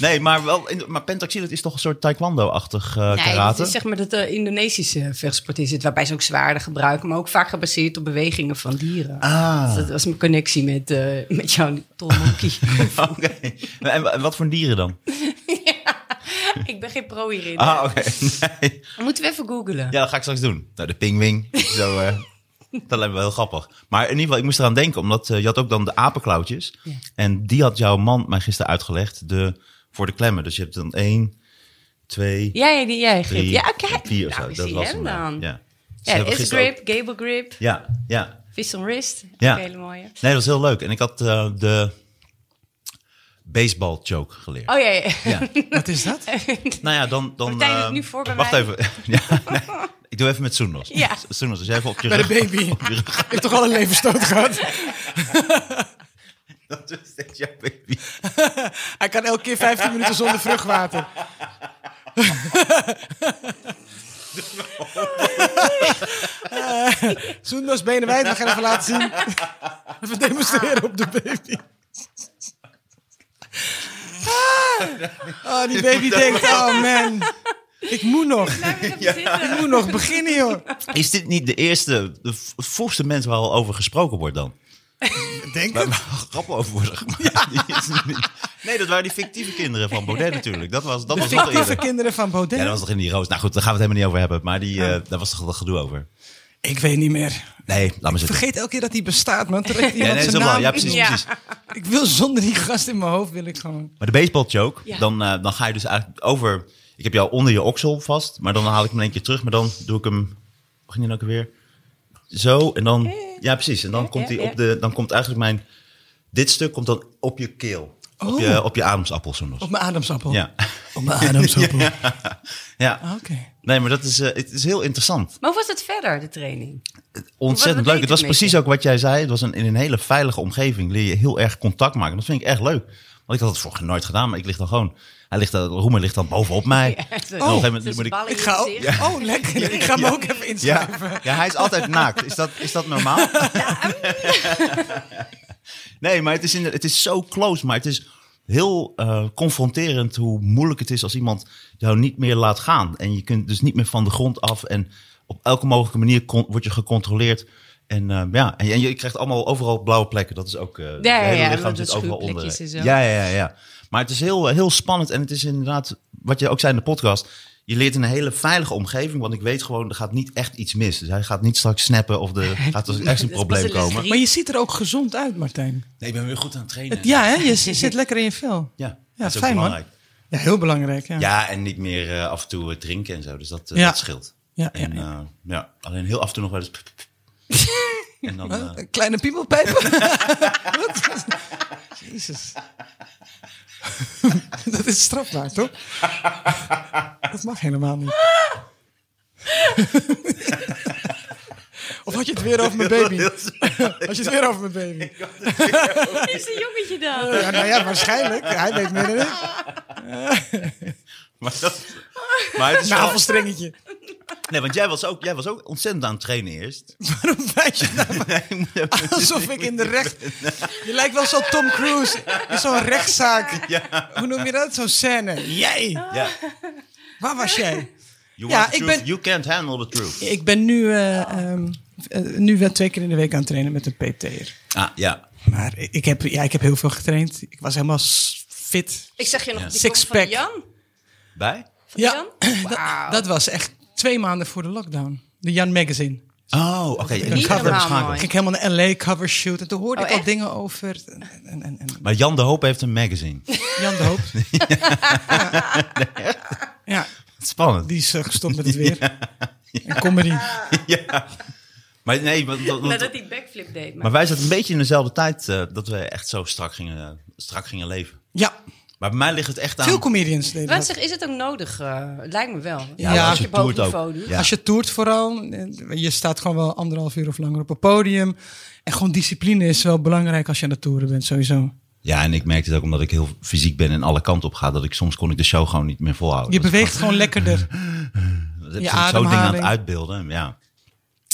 Speaker 2: Nee, maar, wel, in- maar pentaxil, het is toch een soort taekwondo-achtig eh,
Speaker 4: Nee,
Speaker 2: karate?
Speaker 4: dat is zeg maar dat de Indonesische vechtsport is het. Waarbij ze ook zwaarden gebruiken. Maar ook vaak gebaseerd op bewegingen van dieren.
Speaker 2: Ah.
Speaker 4: Dus dat was mijn connectie met, eh, met jouw Tom Monkey.
Speaker 2: Oké. En wa- en wat voor dieren dan?
Speaker 4: ik ben geen pro hierin.
Speaker 2: Ah, oké. Nee.
Speaker 4: Moeten we even googlen?
Speaker 2: Ja, dat ga ik straks doen. Nou, de pingwing. Zo, eh, dat lijkt me wel heel grappig. Maar in ieder geval, ik moest eraan denken, omdat eh, je had ook dan de apenklauwtjes. En die had jouw man mij gisteren uitgelegd de, voor de klemmen. Dus je hebt dan één, twee,
Speaker 4: Ja, ja, die jij grip.
Speaker 2: drie,
Speaker 4: Ja, kijk.
Speaker 2: vier of zo.
Speaker 4: Nou,
Speaker 2: dat
Speaker 4: zie
Speaker 2: was
Speaker 4: hem
Speaker 2: hem
Speaker 4: dan.
Speaker 2: Ja,
Speaker 4: Ja,
Speaker 2: Dus we hebben
Speaker 4: is
Speaker 2: gisteren ook-
Speaker 4: grip, gable grip,
Speaker 2: Ja, ja.
Speaker 4: fist on wrist.
Speaker 2: Ja.
Speaker 4: Ook een hele mooie.
Speaker 2: Nee, dat was heel leuk. En ik had eh, de baseball choke geleerd.
Speaker 4: Oh ja, ja.
Speaker 2: Ja.
Speaker 3: Wat is dat?
Speaker 2: Nou ja, dan... dan
Speaker 4: Martijn doet
Speaker 2: eh,
Speaker 4: nu voor bij
Speaker 2: Wacht
Speaker 4: mij.
Speaker 2: even. ja, nee, ik doe even met Soenos.
Speaker 4: Ja.
Speaker 2: Soenos, als jij even op je
Speaker 3: Bij de
Speaker 2: rug...
Speaker 3: baby. Ik heb toch al een levensstoot gehad?
Speaker 2: Dat is steeds jouw baby.
Speaker 3: Hij kan elke keer 15 minuten zonder vruchtwater. Zoendas benen wijd, we gaan even laten zien. Even demonstreren op de baby. Ah, oh, die baby denkt, oh man, ik moet nog. Ik moet nog beginnen, joh.
Speaker 2: Is dit niet de eerste, de v- vroegste mens waar al over gesproken wordt dan?
Speaker 3: Denk
Speaker 2: Waar
Speaker 3: het.
Speaker 2: waar grappen over worden gemaakt. Die is niet- Nee, dat waren die fictieve kinderen van Baudet natuurlijk. Dat was, dat
Speaker 3: De
Speaker 2: was nog
Speaker 3: fictieve
Speaker 2: eerder.
Speaker 3: kinderen van Baudet.
Speaker 2: Ja, dat was toch in die roos. Nou goed, daar gaan we het helemaal niet over hebben. Maar die,
Speaker 3: Oh.
Speaker 2: eh, daar was toch dat gedoe over.
Speaker 3: Ik weet niet meer.
Speaker 2: Nee, laat maar zitten.
Speaker 3: Vergeet elke keer dat hij bestaat, man. Terwijl iemand
Speaker 2: ja, nee,
Speaker 3: zijn
Speaker 2: zo wel.
Speaker 3: naam
Speaker 2: Ja, precies,
Speaker 4: Ja.
Speaker 2: precies.
Speaker 3: Ik wil zonder die gast in mijn hoofd, wil ik gewoon.
Speaker 2: Maar de baseball choke,
Speaker 4: Ja.
Speaker 2: dan, eh, dan ga je dus eigenlijk over... Ik heb jou onder je oksel vast, maar dan haal ik hem in één keer terug. Maar dan doe ik hem... Hoe ging die nou ook weer? Zo, en
Speaker 3: Eh.
Speaker 2: dan... Ja, precies. En dan komt,
Speaker 4: ja,
Speaker 2: die
Speaker 4: ja.
Speaker 2: op de, dan komt eigenlijk mijn... Dit stuk komt dan op je keel. Op, je, op je ademsappel, zo'n
Speaker 3: Oh. Op mijn ademsappel.
Speaker 2: Ja.
Speaker 3: Op mijn ademsappel.
Speaker 2: ja.
Speaker 3: Ah, Oké.
Speaker 2: Nee, maar dat is, eh, het is heel interessant.
Speaker 4: Maar hoe was het verder, de training?
Speaker 2: Ontzettend
Speaker 4: Wat
Speaker 2: leuk.
Speaker 4: deed
Speaker 2: Het
Speaker 4: het
Speaker 2: was
Speaker 4: met
Speaker 2: precies
Speaker 4: je?
Speaker 2: ook wat jij zei. Het was een, in een hele veilige omgeving. Leer je heel erg contact maken. Dat vind ik echt leuk. Want ik had het voor nooit gedaan, maar ik lig dan gewoon... Hij ligt, dan- Roemer ligt dan bovenop mij. En op een
Speaker 4: oh,
Speaker 2: gegeven moment
Speaker 4: dus
Speaker 2: moet ik-
Speaker 3: Ik ga ook- Oh, lekker. ik ga hem ook even
Speaker 2: Ja,
Speaker 3: inschrijven.
Speaker 2: ja, hij is altijd naakt. Is dat, is dat normaal? nee, maar het is, in, het is zo close. Maar het is heel eh, confronterend hoe moeilijk het is als iemand jou niet meer laat gaan. En je kunt dus niet meer van de grond af. En op elke mogelijke manier kon- word je gecontroleerd. En eh, ja, en je, en je krijgt allemaal overal blauwe plekken. Dat is ook. eh het
Speaker 4: ja,
Speaker 2: hele
Speaker 4: ja,
Speaker 2: lichaam
Speaker 4: want
Speaker 2: zit
Speaker 4: dat
Speaker 2: overal onder.
Speaker 4: schuurplekjes en zo.
Speaker 2: Ja, ja, ja, ja. Maar het is heel, eh, heel spannend. En het is inderdaad, wat je ook zei in de podcast. Je leert in een hele veilige omgeving. Want ik weet gewoon, er gaat niet echt iets mis. Dus hij gaat niet straks snappen of er gaat er echt een
Speaker 4: is pas
Speaker 2: probleem
Speaker 4: een les
Speaker 2: komen.
Speaker 4: drie.
Speaker 3: Maar je ziet er ook gezond uit, Martijn.
Speaker 2: Nee, ik ben weer goed aan het trainen.
Speaker 3: Ja, hè? Je zit zit lekker in je vel.
Speaker 2: ja,
Speaker 3: Ja,
Speaker 2: dat is ook
Speaker 3: fijn, man.
Speaker 2: belangrijk.
Speaker 3: Ja, heel belangrijk. Ja.
Speaker 2: Ja, en niet meer eh, af en toe eh, drinken en zo. Dus dat, eh,
Speaker 3: Ja.
Speaker 2: dat scheelt.
Speaker 3: Ja, ja,
Speaker 2: en,
Speaker 3: ja.
Speaker 2: eh, ja, alleen heel af en toe nog wel eens... en dan, eh,
Speaker 3: Een kleine piemelpijp. Wat? Jezus. Dat is strafbaar, toch? Dat mag helemaal niet. Of had je het weer over mijn baby? Had je het weer over mijn baby?
Speaker 4: Is een jongetje dan?
Speaker 3: Ja, nou ja, waarschijnlijk. Hij weet meer dan ik.
Speaker 2: Maar, dat, maar het is wel-
Speaker 3: Nou. Navelstrengetje.
Speaker 2: Nee, want jij was, ook, jij was ook ontzettend aan het trainen eerst.
Speaker 3: Waarom wijs je nou
Speaker 2: Nee, ik moet even-
Speaker 3: alsof ik in de recht... Je lijkt wel zo'n Tom Cruise in zo'n rechtszaak. Hoe noem je dat? Zo'n scène. Jij!
Speaker 2: ja.
Speaker 3: Waar was jij?
Speaker 2: You,
Speaker 3: Ja,
Speaker 2: want the
Speaker 3: ik
Speaker 2: truth,
Speaker 3: ben-
Speaker 2: you can't handle the truth.
Speaker 3: Ik ben nu, eh, ehm, eh, nu wel twee keer in de week aan het trainen met een PT'er.
Speaker 2: Ah, ja.
Speaker 3: Maar ik heb, ja, ik heb heel veel getraind. Ik was helemaal s- fit.
Speaker 4: Ik zag je nog op die
Speaker 3: Sixpack.
Speaker 4: kop van Jan.
Speaker 2: Bij?
Speaker 4: Van
Speaker 3: Ja.
Speaker 4: Jan? Wauw.
Speaker 3: Dat was echt twee maanden voor de lockdown. De Jan Magazine.
Speaker 2: Oh, oké. en
Speaker 3: Niet
Speaker 2: die cover
Speaker 4: normaal
Speaker 2: schakelt.
Speaker 3: Ik
Speaker 4: mooi.
Speaker 3: ging helemaal naar LA cover shoot. En toen hoorde
Speaker 4: Oh,
Speaker 3: ik al
Speaker 4: echt?
Speaker 3: dingen over. En, en, en, en
Speaker 2: Maar Jan de Hoop heeft een magazine.
Speaker 3: Jan de Hoop. ja. Ja,
Speaker 2: Spannend.
Speaker 3: die is eh, gestopt met het weer. En comedy.
Speaker 2: Maar nee, want- want- want-
Speaker 4: Nadat hij backflip deed. Maar,
Speaker 2: maar wij zaten een beetje in dezelfde tijd eh, dat we echt zo strak gingen, strak gingen leven.
Speaker 3: Ja,
Speaker 2: Maar bij mij ligt het echt aan...
Speaker 3: veel comedians deden
Speaker 4: Wat
Speaker 3: dat.
Speaker 4: zeg, is het ook nodig? eh, het lijkt me wel.
Speaker 3: Ja, als
Speaker 4: als
Speaker 2: je
Speaker 4: je boven
Speaker 2: toert ook.
Speaker 4: niveau doet.
Speaker 2: Ja.
Speaker 3: Als je toert vooral, eh, je staat gewoon wel anderhalf uur of langer op het podium. En gewoon discipline is wel belangrijk als je aan het toeren bent, sowieso.
Speaker 2: Ja, en ik merkte het ook omdat ik heel fysiek ben en alle kanten op ga, dat ik soms kon ik de show gewoon niet meer volhouden.
Speaker 3: Je
Speaker 2: Dat-
Speaker 3: beweegt gewoon lekkerder.
Speaker 2: dat
Speaker 3: je
Speaker 2: ik zo dingen aan het
Speaker 3: ademhaling.
Speaker 2: uitbeelden. Ja.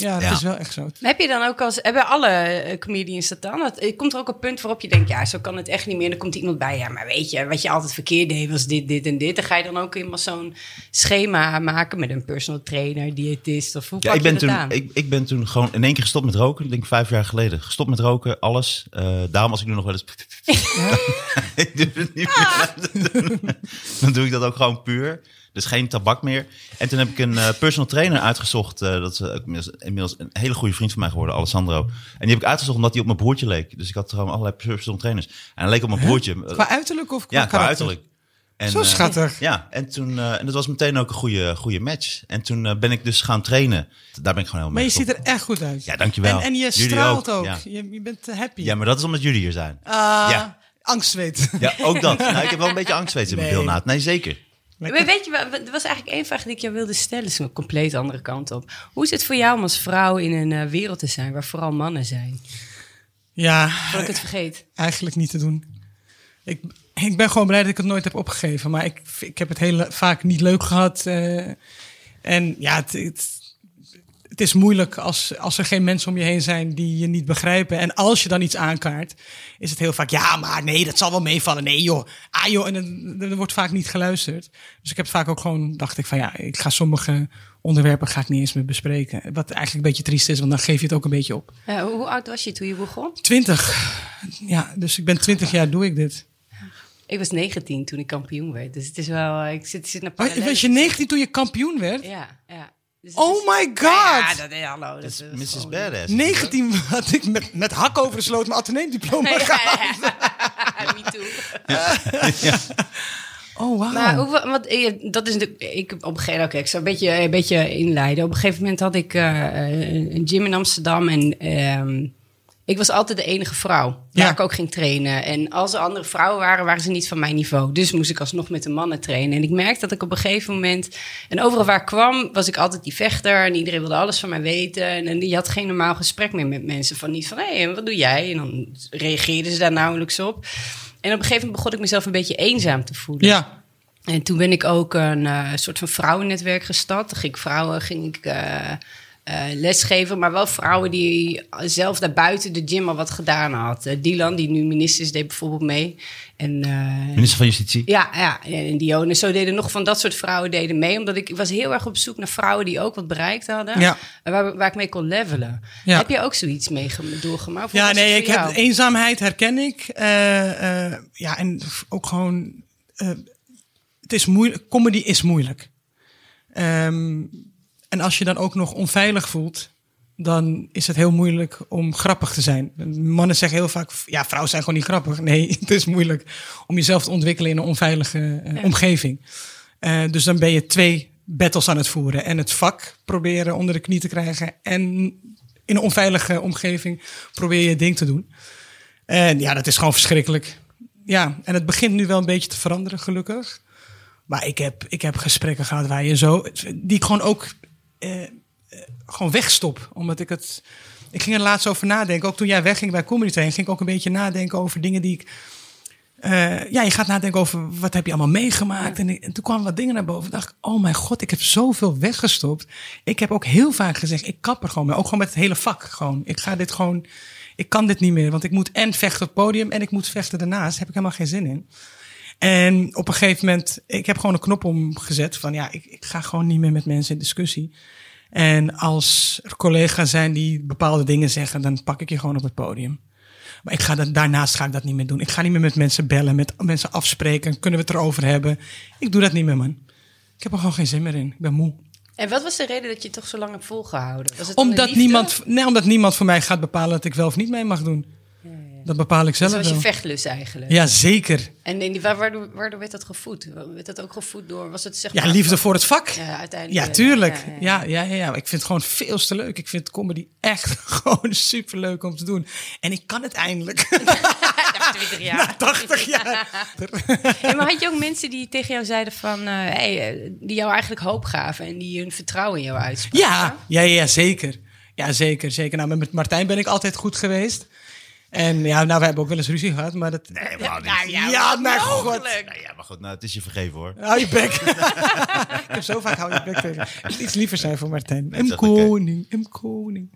Speaker 3: Ja, dat
Speaker 2: Ja.
Speaker 3: is wel echt zo.
Speaker 4: Maar heb je dan ook als, hebben alle eh, comedians dat dan? Dat, eh, komt er ook een punt waarop je denkt, ja, zo kan het echt niet meer. Dan komt iemand bij, ja, maar weet je, wat je altijd verkeerd deed was dit, dit en dit. Dan ga je dan ook helemaal zo'n schema maken met een personal trainer, diëtist of hoe
Speaker 2: Ja,
Speaker 4: pak
Speaker 2: ik, ben
Speaker 4: je dat
Speaker 2: toen,
Speaker 4: aan?
Speaker 2: ik, ik ben toen gewoon in één keer gestopt met roken. Ik denk vijf jaar geleden. Gestopt met roken, alles. Eh, daarom als ik nu nog wel eens... ik durf het niet meer te
Speaker 4: Ah.
Speaker 2: doen. Dan doe ik dat ook gewoon puur. Dus geen tabak meer. En toen heb ik een eh, personal trainer uitgezocht. eh, dat is eh, ook inmiddels, inmiddels een hele goede vriend van mij geworden, Alessandro. En die heb ik uitgezocht omdat hij op mijn broertje leek. Dus ik had gewoon allerlei personal trainers. En hij leek op mijn broertje.
Speaker 3: Qua uiterlijk of qua,
Speaker 2: ja, qua
Speaker 3: karakter?
Speaker 2: uiterlijk. En,
Speaker 3: Zo
Speaker 2: eh,
Speaker 3: schattig.
Speaker 2: ja, en toen eh, en dat was meteen ook een goede, goede match. En toen eh, ben ik dus gaan trainen. Daar ben ik gewoon helemaal
Speaker 3: Maar je
Speaker 2: mee
Speaker 3: ziet er echt goed uit.
Speaker 2: Ja, dankjewel.
Speaker 3: En, en je
Speaker 2: Jullie
Speaker 3: straalt
Speaker 2: ook,
Speaker 3: ook.
Speaker 2: ja.
Speaker 3: Je, je bent happy.
Speaker 2: Ja, maar dat is omdat jullie hier zijn.
Speaker 3: Ah,
Speaker 2: Ja.
Speaker 3: Angstzweet.
Speaker 2: Ja, ook dat. Nou, ik heb wel een beetje angstzweet in mijn
Speaker 3: Nee.
Speaker 2: nee. bilnaad. Nee, zeker.
Speaker 4: Maar weet je, wat- er was eigenlijk één vraag die ik jou wilde stellen. is een compleet andere kant op. Hoe is het voor jou om als vrouw in een eh, wereld te zijn waar vooral mannen zijn?
Speaker 3: Ja,
Speaker 4: Dat ik het vergeet.
Speaker 3: eigenlijk niet te doen. Ik, ik ben gewoon blij dat ik het nooit heb opgegeven. Maar ik, ik heb het heel vaak niet leuk gehad. eh, en ja, het, het, het is moeilijk als, als er geen mensen om je heen zijn die je niet begrijpen. En als je dan iets aankaart, is het heel vaak... Ja, maar nee, dat zal wel meevallen. Nee joh, ah joh. En dan- dan- er wordt vaak niet geluisterd. Dus ik heb vaak ook gewoon, dacht ik van ja, ik ga sommige onderwerpen ga ik niet eens meer bespreken. Wat eigenlijk een beetje triest is, want dan geef je het ook een beetje op.
Speaker 4: Eh, hoe hoe oud was je toen je begon?
Speaker 3: 20. Ja, dus ik ben 20 jaar doe ik dit.
Speaker 4: Ik was 19 toen ik kampioen werd. Dus het is wel. eh, Ik zit, zit naar
Speaker 3: Oh,
Speaker 4: parallellen.
Speaker 3: was je 19 toen je kampioen werd?
Speaker 4: Ja, ja. Dus het
Speaker 3: Oh
Speaker 4: is-
Speaker 3: my
Speaker 4: Ja,
Speaker 3: god!
Speaker 4: dat is hallo. Dat, is
Speaker 2: Mrs.
Speaker 4: gewoon-
Speaker 2: Badass.
Speaker 3: 19 had ik met, met hak over de sloot mijn ateneemdiploma
Speaker 4: Ja,
Speaker 3: gehaald.
Speaker 4: ja, ja. Ah, Me too.
Speaker 3: Oh, wauw.
Speaker 4: Maar hoeveel, want eh, dat is natuurlijk. Ik op een gegeven moment, oké, ik zou een beetje, een beetje inleiden. Op een gegeven moment had ik eh, een een gym in Amsterdam en ehm, ik was altijd de enige vrouw waar
Speaker 3: Ja.
Speaker 4: ik ook ging trainen. En als er andere vrouwen waren, waren ze niet van mijn niveau. Dus moest ik alsnog met de mannen trainen. En ik merkte dat ik op een gegeven moment. En overal waar ik kwam, was ik altijd die vechter. En iedereen wilde alles van mij weten. En, en je had geen normaal gesprek meer met mensen. Van niet van, hé, en wat doe jij? En dan reageerden ze daar nauwelijks op. En op een gegeven moment begon ik mezelf een beetje eenzaam te voelen.
Speaker 3: ja.
Speaker 4: En toen ben ik ook een eh, soort van vrouwennetwerk gestart. Toen ging ik vrouwen ging ik, eh, eh, lesgeven, maar wel vrouwen die zelf daarbuiten de gym al wat gedaan had. Eh, Dylan, die nu minister is, deed bijvoorbeeld mee. En eh,
Speaker 2: Minister van Justitie.
Speaker 4: ja, ja, en Dione. Zo deden nog van dat soort vrouwen deden mee. Omdat ik, ik was heel erg op zoek naar vrouwen die ook wat bereikt hadden.
Speaker 3: Ja.
Speaker 4: En waar, waar ik mee kon levelen.
Speaker 3: Ja.
Speaker 4: Heb je ook zoiets mee gem- doorgemaakt? Of
Speaker 3: Ja,
Speaker 4: was het
Speaker 3: nee,
Speaker 4: voor
Speaker 3: ik heb,
Speaker 4: jou?
Speaker 3: eenzaamheid herken ik. Eh, eh, ja, en ook gewoon... eh, het is moeilijk, comedy is moeilijk. Ehm, en als je dan ook nog onveilig voelt, dan is het heel moeilijk om grappig te zijn. Mannen zeggen heel vaak, ja, vrouwen zijn gewoon niet grappig. Nee, het is moeilijk om jezelf te ontwikkelen in een onveilige eh, omgeving. Eh, dus dan ben je twee battles aan het voeren. En het vak proberen onder de knie te krijgen. En in een onveilige omgeving probeer je je ding te doen. En ja, dat is gewoon verschrikkelijk. Ja, en het begint nu wel een beetje te veranderen, gelukkig. Maar ik heb, ik heb gesprekken gehad waar je zo. die ik gewoon ook. eh, eh, gewoon wegstop. Omdat ik het. Ik ging er laatst over nadenken. Ook toen jij wegging bij Comedy Train, ging ik ook een beetje nadenken over dingen die ik. eh, ja, je gaat nadenken over wat heb je allemaal meegemaakt. En, ik- en toen kwamen wat dingen naar boven. Toen dacht ik, oh mijn god, ik heb zoveel weggestopt. Ik heb ook heel vaak gezegd, ik kap er gewoon mee. Ook gewoon met het hele vak. Gewoon. Ik ga dit gewoon, ik kan dit niet meer. Want ik moet en vechten op het podium en ik moet vechten daarnaast. Daar heb ik helemaal geen zin in. En op een gegeven moment, ik heb gewoon een knop omgezet van ja, ik, ik ga gewoon niet meer met mensen in discussie. En als er collega's zijn die bepaalde dingen zeggen, dan pak ik je gewoon op het podium. Maar ik ga dat, daarnaast ga ik dat niet meer doen. Ik ga niet meer met mensen bellen, met mensen afspreken. Kunnen we het erover hebben? Ik doe dat niet meer, man. Ik heb er gewoon geen zin meer in. Ik ben moe.
Speaker 4: En wat was de reden dat je het toch zo lang hebt volgehouden? Was het dan de
Speaker 3: Omdat
Speaker 4: liefde?
Speaker 3: niemand, nee, omdat niemand voor mij gaat bepalen dat ik wel of niet mee mag doen. Dat bepaal ik zelf
Speaker 4: Dus dat was je
Speaker 3: wel.
Speaker 4: vechtlust eigenlijk.
Speaker 3: Ja, zeker.
Speaker 4: En in die, waar- waardoor, waardoor werd dat gevoed? Werd dat ook gevoed door? Was het zeg
Speaker 3: Ja,
Speaker 4: maar-
Speaker 3: liefde voor het vak.
Speaker 4: Ja, uiteindelijk.
Speaker 3: Ja,
Speaker 4: wel.
Speaker 3: tuurlijk.
Speaker 4: Ja, ja.
Speaker 3: Ja, ja, ja, ja. Ik vind het gewoon veel te leuk. Ik vind comedy echt gewoon superleuk om te doen. En ik kan het eindelijk.
Speaker 4: Na 20 jaar.
Speaker 3: Na 80 jaar.
Speaker 4: Ja, maar had je ook mensen die tegen jou zeiden van, eh, hey, eh, die jou eigenlijk hoop gaven en die hun vertrouwen in jou uitspraken?
Speaker 3: Ja, ja, ja, ja, zeker. Ja, zeker, zeker. Nou, met Martijn ben ik altijd goed geweest. En ja, nou, we hebben ook wel eens ruzie gehad, maar dat...
Speaker 2: Nee, wou niet.
Speaker 4: Nou ja,
Speaker 3: Ja,
Speaker 4: wat
Speaker 3: mijn
Speaker 4: mogelijk.
Speaker 2: Nou ja, maar goed, nou, het is je vergeven hoor.
Speaker 3: Hou je bek. ik heb zo vaak hou je bek tegen. Ik moet iets liever zijn voor Martijn. M.
Speaker 2: zegt oké.
Speaker 3: Koning, M. Koning.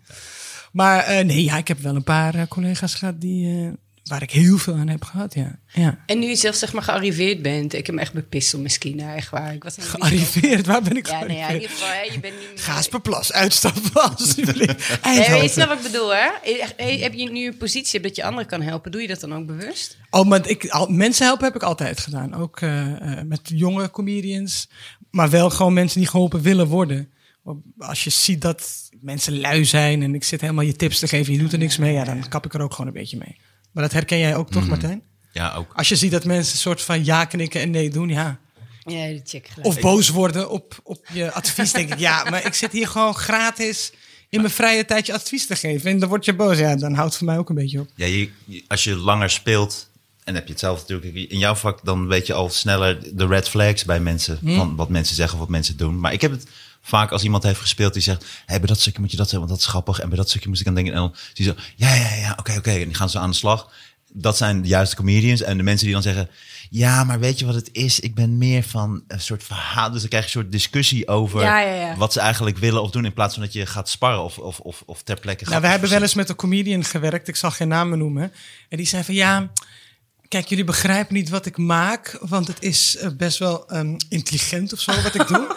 Speaker 3: Maar eh, nee, ja, ik heb wel een paar eh, collega's gehad die, eh, waar ik heel veel aan heb gehad, ja. ja.
Speaker 4: En nu je zelf zeg maar gearriveerd bent, ik heb me echt bepissel misschien, nou, echt waar. Ik was helemaal niet
Speaker 3: Gearriveerd, waar ben ik
Speaker 4: zo- Ja, nou ja, in
Speaker 3: gearriveerd?
Speaker 4: ieder geval, hè, je bent niet meer...
Speaker 3: Gaasperplas, uitstappen alsjeblieft.
Speaker 4: Nee, maar je
Speaker 3: Eindhoven.
Speaker 4: snapt wat ik bedoel, hè? Eh, Echt, hey, Heb je nu een positie dat je anderen kan helpen? Doe je dat dan ook bewust?
Speaker 3: Oh, maar ik, al, mensen helpen heb ik altijd gedaan. Ook eh, eh, met jonge comedians. Maar wel gewoon mensen die geholpen willen worden. Want Als je ziet dat mensen lui zijn en ik zit helemaal je tips te geven, je doet er niks mee, ja, dan kap ik er ook gewoon een beetje mee. Maar dat herken jij ook toch, Martijn?
Speaker 2: Ja, ook.
Speaker 3: Als je ziet dat mensen een soort van ja knikken en nee doen, ja.
Speaker 4: Ja, dat check gelijk.
Speaker 3: Of boos worden op, op je advies, denk ik. Ja, maar ik zit hier gewoon gratis in mijn vrije tijd je advies te geven. En dan word je boos. Ja, dan houdt het voor mij ook een beetje op.
Speaker 2: Ja, je, je- als je langer speelt, en heb je hetzelfde natuurlijk in jouw vak, dan weet je al sneller de red flags bij mensen. Van wat mensen zeggen of wat mensen doen. Maar ik heb het vaak als iemand heeft gespeeld die zegt: hey, bij dat stukje moet je dat zeggen, want dat is grappig. En bij dat stukje moest ik aan denken. En dan zie je zo: ja, ja, ja, oké, oké. En die gaan ze aan de slag. Dat zijn de juiste comedians. En de mensen die dan zeggen: ja, maar weet je wat het is? Ik ben meer van een soort verhaal. Dus dan krijg je een soort discussie over
Speaker 4: Ja, ja, ja.
Speaker 2: wat ze eigenlijk willen of doen. In plaats van dat je gaat sparren of, of, of, of ter plekke gaat.
Speaker 3: Nou, we hebben wel eens met een comedian gewerkt. Ik zal geen namen noemen. En die zei van ja. Kijk, jullie begrijpen niet wat ik maak, want het is eh, best wel ehm, intelligent of zo wat ik doe.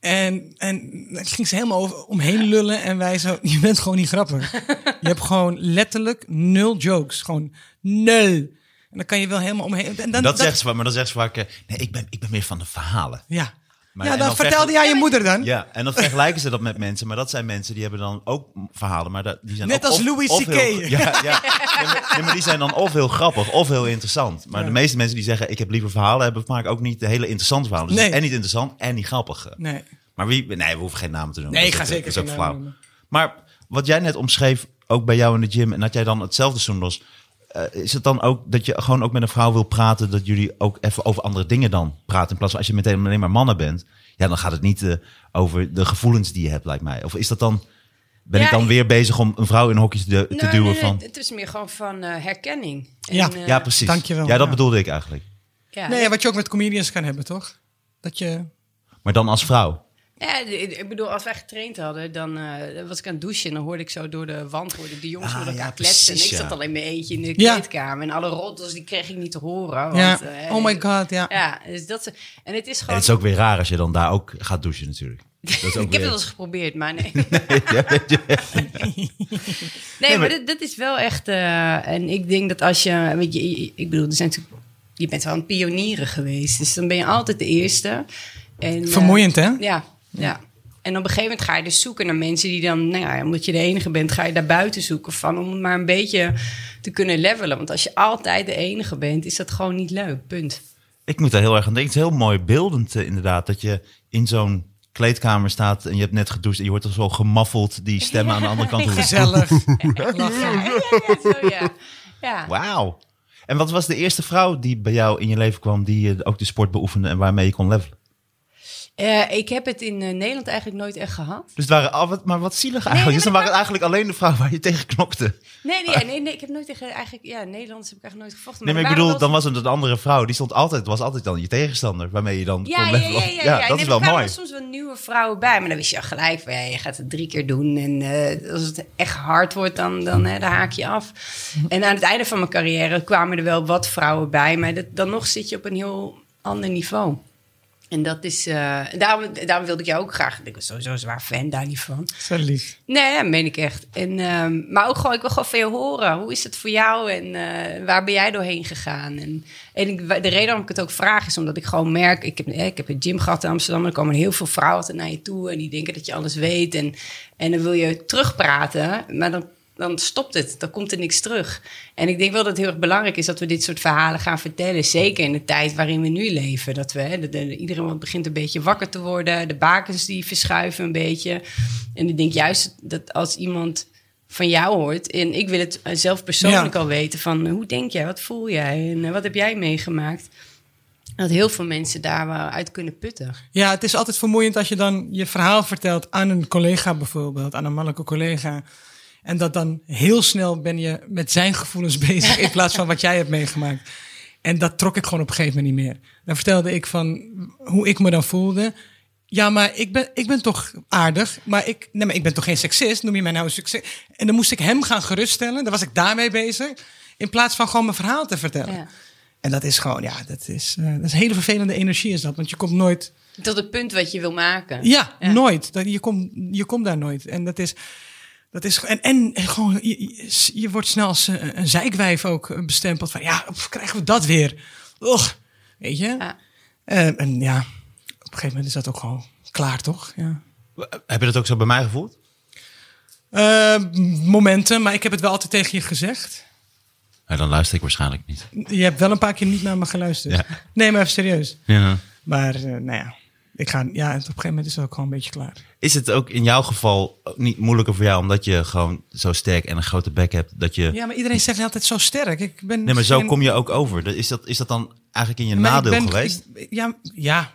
Speaker 3: En, en dan ging ze helemaal over, omheen lullen en wij zo, je bent gewoon niet grappig. Je hebt gewoon letterlijk nul jokes, gewoon nul. En dan kan je wel helemaal omheen. En dan,
Speaker 2: dat, zegt ze vaak, maar dan zegt ze vaak, eh, nee, ik ben, ik ben meer van de verhalen.
Speaker 3: Ja,
Speaker 2: Maar-
Speaker 3: ja
Speaker 2: en
Speaker 3: dan,
Speaker 2: dan
Speaker 3: vertelde
Speaker 2: vechten-
Speaker 3: jij je moeder dan.
Speaker 2: Ja, en dan vergelijken ze dat met mensen, maar dat zijn mensen die hebben dan ook verhalen, maar dat- die zijn
Speaker 3: Net
Speaker 2: ook
Speaker 3: als
Speaker 2: of-
Speaker 3: Louis
Speaker 2: of
Speaker 3: CK.
Speaker 2: heel- Ja, ja. Nee, maar, nee, maar die zijn dan of heel grappig of heel interessant. Maar de meeste mensen die zeggen, ik heb liever verhalen, hebben vaak ook niet de hele interessante verhalen. Dus
Speaker 3: Nee.
Speaker 2: het is en niet interessant en niet grappig.
Speaker 3: Nee.
Speaker 2: Maar wie, nee, we hoeven geen namen te noemen.
Speaker 3: Nee,
Speaker 2: Dat
Speaker 3: ik
Speaker 2: is
Speaker 3: ga
Speaker 2: ook-
Speaker 3: zeker
Speaker 2: dat is ook
Speaker 3: geen namen
Speaker 2: flauw.
Speaker 3: noemen.
Speaker 2: Maar wat jij net omschreef, ook bij jou in de gym, en dat jij dan hetzelfde zoendos. eh is het dan ook dat je gewoon ook met een vrouw wil praten, dat jullie ook even over andere dingen dan praten? In plaats van als je meteen alleen maar mannen bent, ja, dan gaat het niet eh, over de gevoelens die je hebt, lijkt mij. Of is dat dan, ben
Speaker 4: Ja,
Speaker 2: ik dan
Speaker 4: ik-
Speaker 2: weer bezig om een vrouw in hokjes de- te
Speaker 4: Nee,
Speaker 2: duwen
Speaker 4: nee, nee,
Speaker 2: van?
Speaker 4: Het is meer gewoon van eh, herkenning. En,
Speaker 3: Ja.
Speaker 4: eh,
Speaker 2: ja, precies.
Speaker 3: Dankjewel,
Speaker 2: Ja, dat
Speaker 3: ja.
Speaker 2: bedoelde ik eigenlijk.
Speaker 4: ja.
Speaker 3: Nee, ja, wat je ook met comedians kan hebben, toch? Dat je...
Speaker 2: Maar dan als vrouw.
Speaker 4: Ja, ik ik bedoel, als wij getraind hadden, dan eh, was ik aan het douchen en dan hoorde ik zo door de wand hoorde ik de jongens
Speaker 2: Ah,
Speaker 4: met elkaar
Speaker 2: ja,
Speaker 4: kletsen.
Speaker 2: precies,
Speaker 4: en ik
Speaker 2: ja.
Speaker 4: zat al in mijn eentje in de
Speaker 3: Ja.
Speaker 4: kleedkamer en alle roddels die kreeg ik niet te horen. Want,
Speaker 3: ja.
Speaker 4: eh,
Speaker 3: oh my god, ja.
Speaker 4: Ja, dus dat, is- en het is
Speaker 2: En
Speaker 4: gewoon...
Speaker 2: het is ook weer raar als je dan daar ook gaat douchen natuurlijk. Dat is ook
Speaker 4: ik heb
Speaker 2: weer-
Speaker 4: het wel eens geprobeerd, maar nee. nee, maar dat, dat is wel echt... eh, en ik denk dat als je... Weet je ik bedoel, er zijn natuurlijk, je bent wel een pionieren geweest. Dus dan ben je altijd de eerste. En, eh,
Speaker 3: Vermoeiend, hè?
Speaker 4: Ja, ja. En op een gegeven moment ga je dus zoeken naar mensen die dan, nou ja, omdat je de enige bent, ga je daar buiten zoeken van om het maar een beetje te kunnen levelen. Want als je altijd de enige bent, is dat gewoon niet leuk. Punt.
Speaker 2: Ik moet daar heel erg aan denken. Het is heel mooi beeldend eh, inderdaad. Dat je in zo'n kleedkamer staat en je hebt net gedoucht... en je hoort al zo gemaffeld die stemmen aan de andere kant. horen.
Speaker 3: Gezellig.
Speaker 4: Ja, ja, ja, zo, ja. ja.
Speaker 2: Wauw. En wat was de eerste vrouw die bij jou in je leven kwam... die eh, ook de sport beoefende en waarmee je kon levelen?
Speaker 4: Eh, ik heb het in eh, Nederland eigenlijk nooit echt gehad.
Speaker 2: Dus het waren, ah, wat, maar wat zielig eigenlijk.
Speaker 4: maar
Speaker 2: dus dan
Speaker 4: het
Speaker 2: waren het eigenlijk alleen de vrouwen waar je tegen knokte.
Speaker 4: Nee, nee, ja, nee, nee ik heb nooit tegen eigenlijk, ja, Nederlanders heb Oh. ik eigenlijk nooit gevochten.
Speaker 2: Nee, maar ik
Speaker 4: er
Speaker 2: bedoel,
Speaker 4: waren wel-
Speaker 2: dan was het een andere vrouw. Die stond altijd, was altijd dan je tegenstander. Waarmee je dan kon
Speaker 4: ja, ja, ja,
Speaker 2: levelen.
Speaker 4: ja, ja,
Speaker 2: Ja,
Speaker 4: ja.
Speaker 2: dat
Speaker 4: Nee,
Speaker 2: is
Speaker 4: er
Speaker 2: wel
Speaker 4: kwamen
Speaker 2: mooi.
Speaker 4: wel soms wel nieuwe vrouwen bij, maar dan wist je al gelijk, van, ja, je gaat het drie keer doen. En eh, als het echt hard wordt, dan, dan, hè, dan haak je af. En aan het einde van mijn carrière kwamen er wel wat vrouwen bij, maar dat, dan nog zit je op een heel ander niveau. En dat is, eh, daarom, daarom wilde ik jou ook graag. Ik was sowieso een zwaar fan daar niet van.
Speaker 3: Zo lief.
Speaker 4: Nee, ja, meen ik echt. En, ehm, maar ook gewoon, ik wil gewoon veel horen. Hoe is het voor jou en eh, waar ben jij doorheen gegaan? En, en ik, de reden waarom ik het ook vraag is omdat ik gewoon merk... Ik heb, eh, ik heb een gym gehad in Amsterdam en er komen heel veel vrouwen altijd naar je toe... en die denken dat je alles weet en, en dan wil je terugpraten, maar dan, dan stopt het. Dan komt er niks terug. En ik denk wel dat het heel erg belangrijk is dat we dit soort verhalen gaan vertellen. Zeker in de tijd waarin we nu leven. Dat we, hè, dat, eh, iedereen begint een beetje wakker te worden. De bakens die verschuiven een beetje. En ik denk juist dat als iemand van jou hoort... en ik wil het eh, zelf persoonlijk
Speaker 3: Ja.
Speaker 4: al weten van... eh, hoe denk jij, wat voel jij en eh, wat heb jij meegemaakt? Dat heel veel mensen daar wel uit kunnen putten.
Speaker 3: Ja, het is altijd vermoeiend als je dan je verhaal vertelt aan een collega bijvoorbeeld, aan een mannelijke collega. En dat dan heel snel ben je met zijn gevoelens bezig in plaats van wat jij hebt meegemaakt. En dat trok ik gewoon op een gegeven moment niet meer. Dan vertelde ik van hoe ik me dan voelde. Ja, maar ik ben, ik ben toch aardig. Maar ik, nee, maar ik ben toch geen seksist? Noem je mij nou een succes? En dan moest ik hem gaan geruststellen. Dan was ik daarmee bezig. In plaats van gewoon mijn verhaal te vertellen.
Speaker 4: Ja.
Speaker 3: En dat is gewoon, ja, dat is, eh, dat is een hele vervelende energie is dat. Want je komt nooit
Speaker 4: Tot het punt wat je wil maken.
Speaker 3: ja, nooit. Dat, je komt je komt daar nooit. En dat is. Dat is en, en gewoon, je, je- je wordt snel als eh, een, een zeikwijf ook eh, bestempeld. Van ja, pff, krijgen we dat weer? Och, weet je?
Speaker 4: Ja.
Speaker 3: Eh, en ja, op een gegeven moment is dat ook gewoon klaar, toch? Ja.
Speaker 2: Heb je dat ook zo bij mij gevoeld?
Speaker 3: Eh, momenten, maar ik heb het wel altijd tegen je gezegd.
Speaker 2: Ja, dan luister ik waarschijnlijk niet.
Speaker 3: Je hebt wel een paar keer niet naar me geluisterd.
Speaker 2: Ja.
Speaker 3: Nee, maar even serieus.
Speaker 2: Ja.
Speaker 3: Maar eh, nou ja, ik ga, ja, op een gegeven moment is het ook gewoon een beetje klaar.
Speaker 2: Is het ook in jouw geval niet moeilijker voor jou omdat je gewoon zo sterk en een grote bek hebt dat je.
Speaker 3: Ja, maar iedereen zegt altijd zo sterk. Ik ben
Speaker 2: Nee, maar zo
Speaker 3: geen-
Speaker 2: kom je ook over. Dat- Is dat, is dat dan eigenlijk in je
Speaker 3: Maar ik
Speaker 2: nadeel
Speaker 3: ben-
Speaker 2: geweest?
Speaker 3: ik- ja, ja.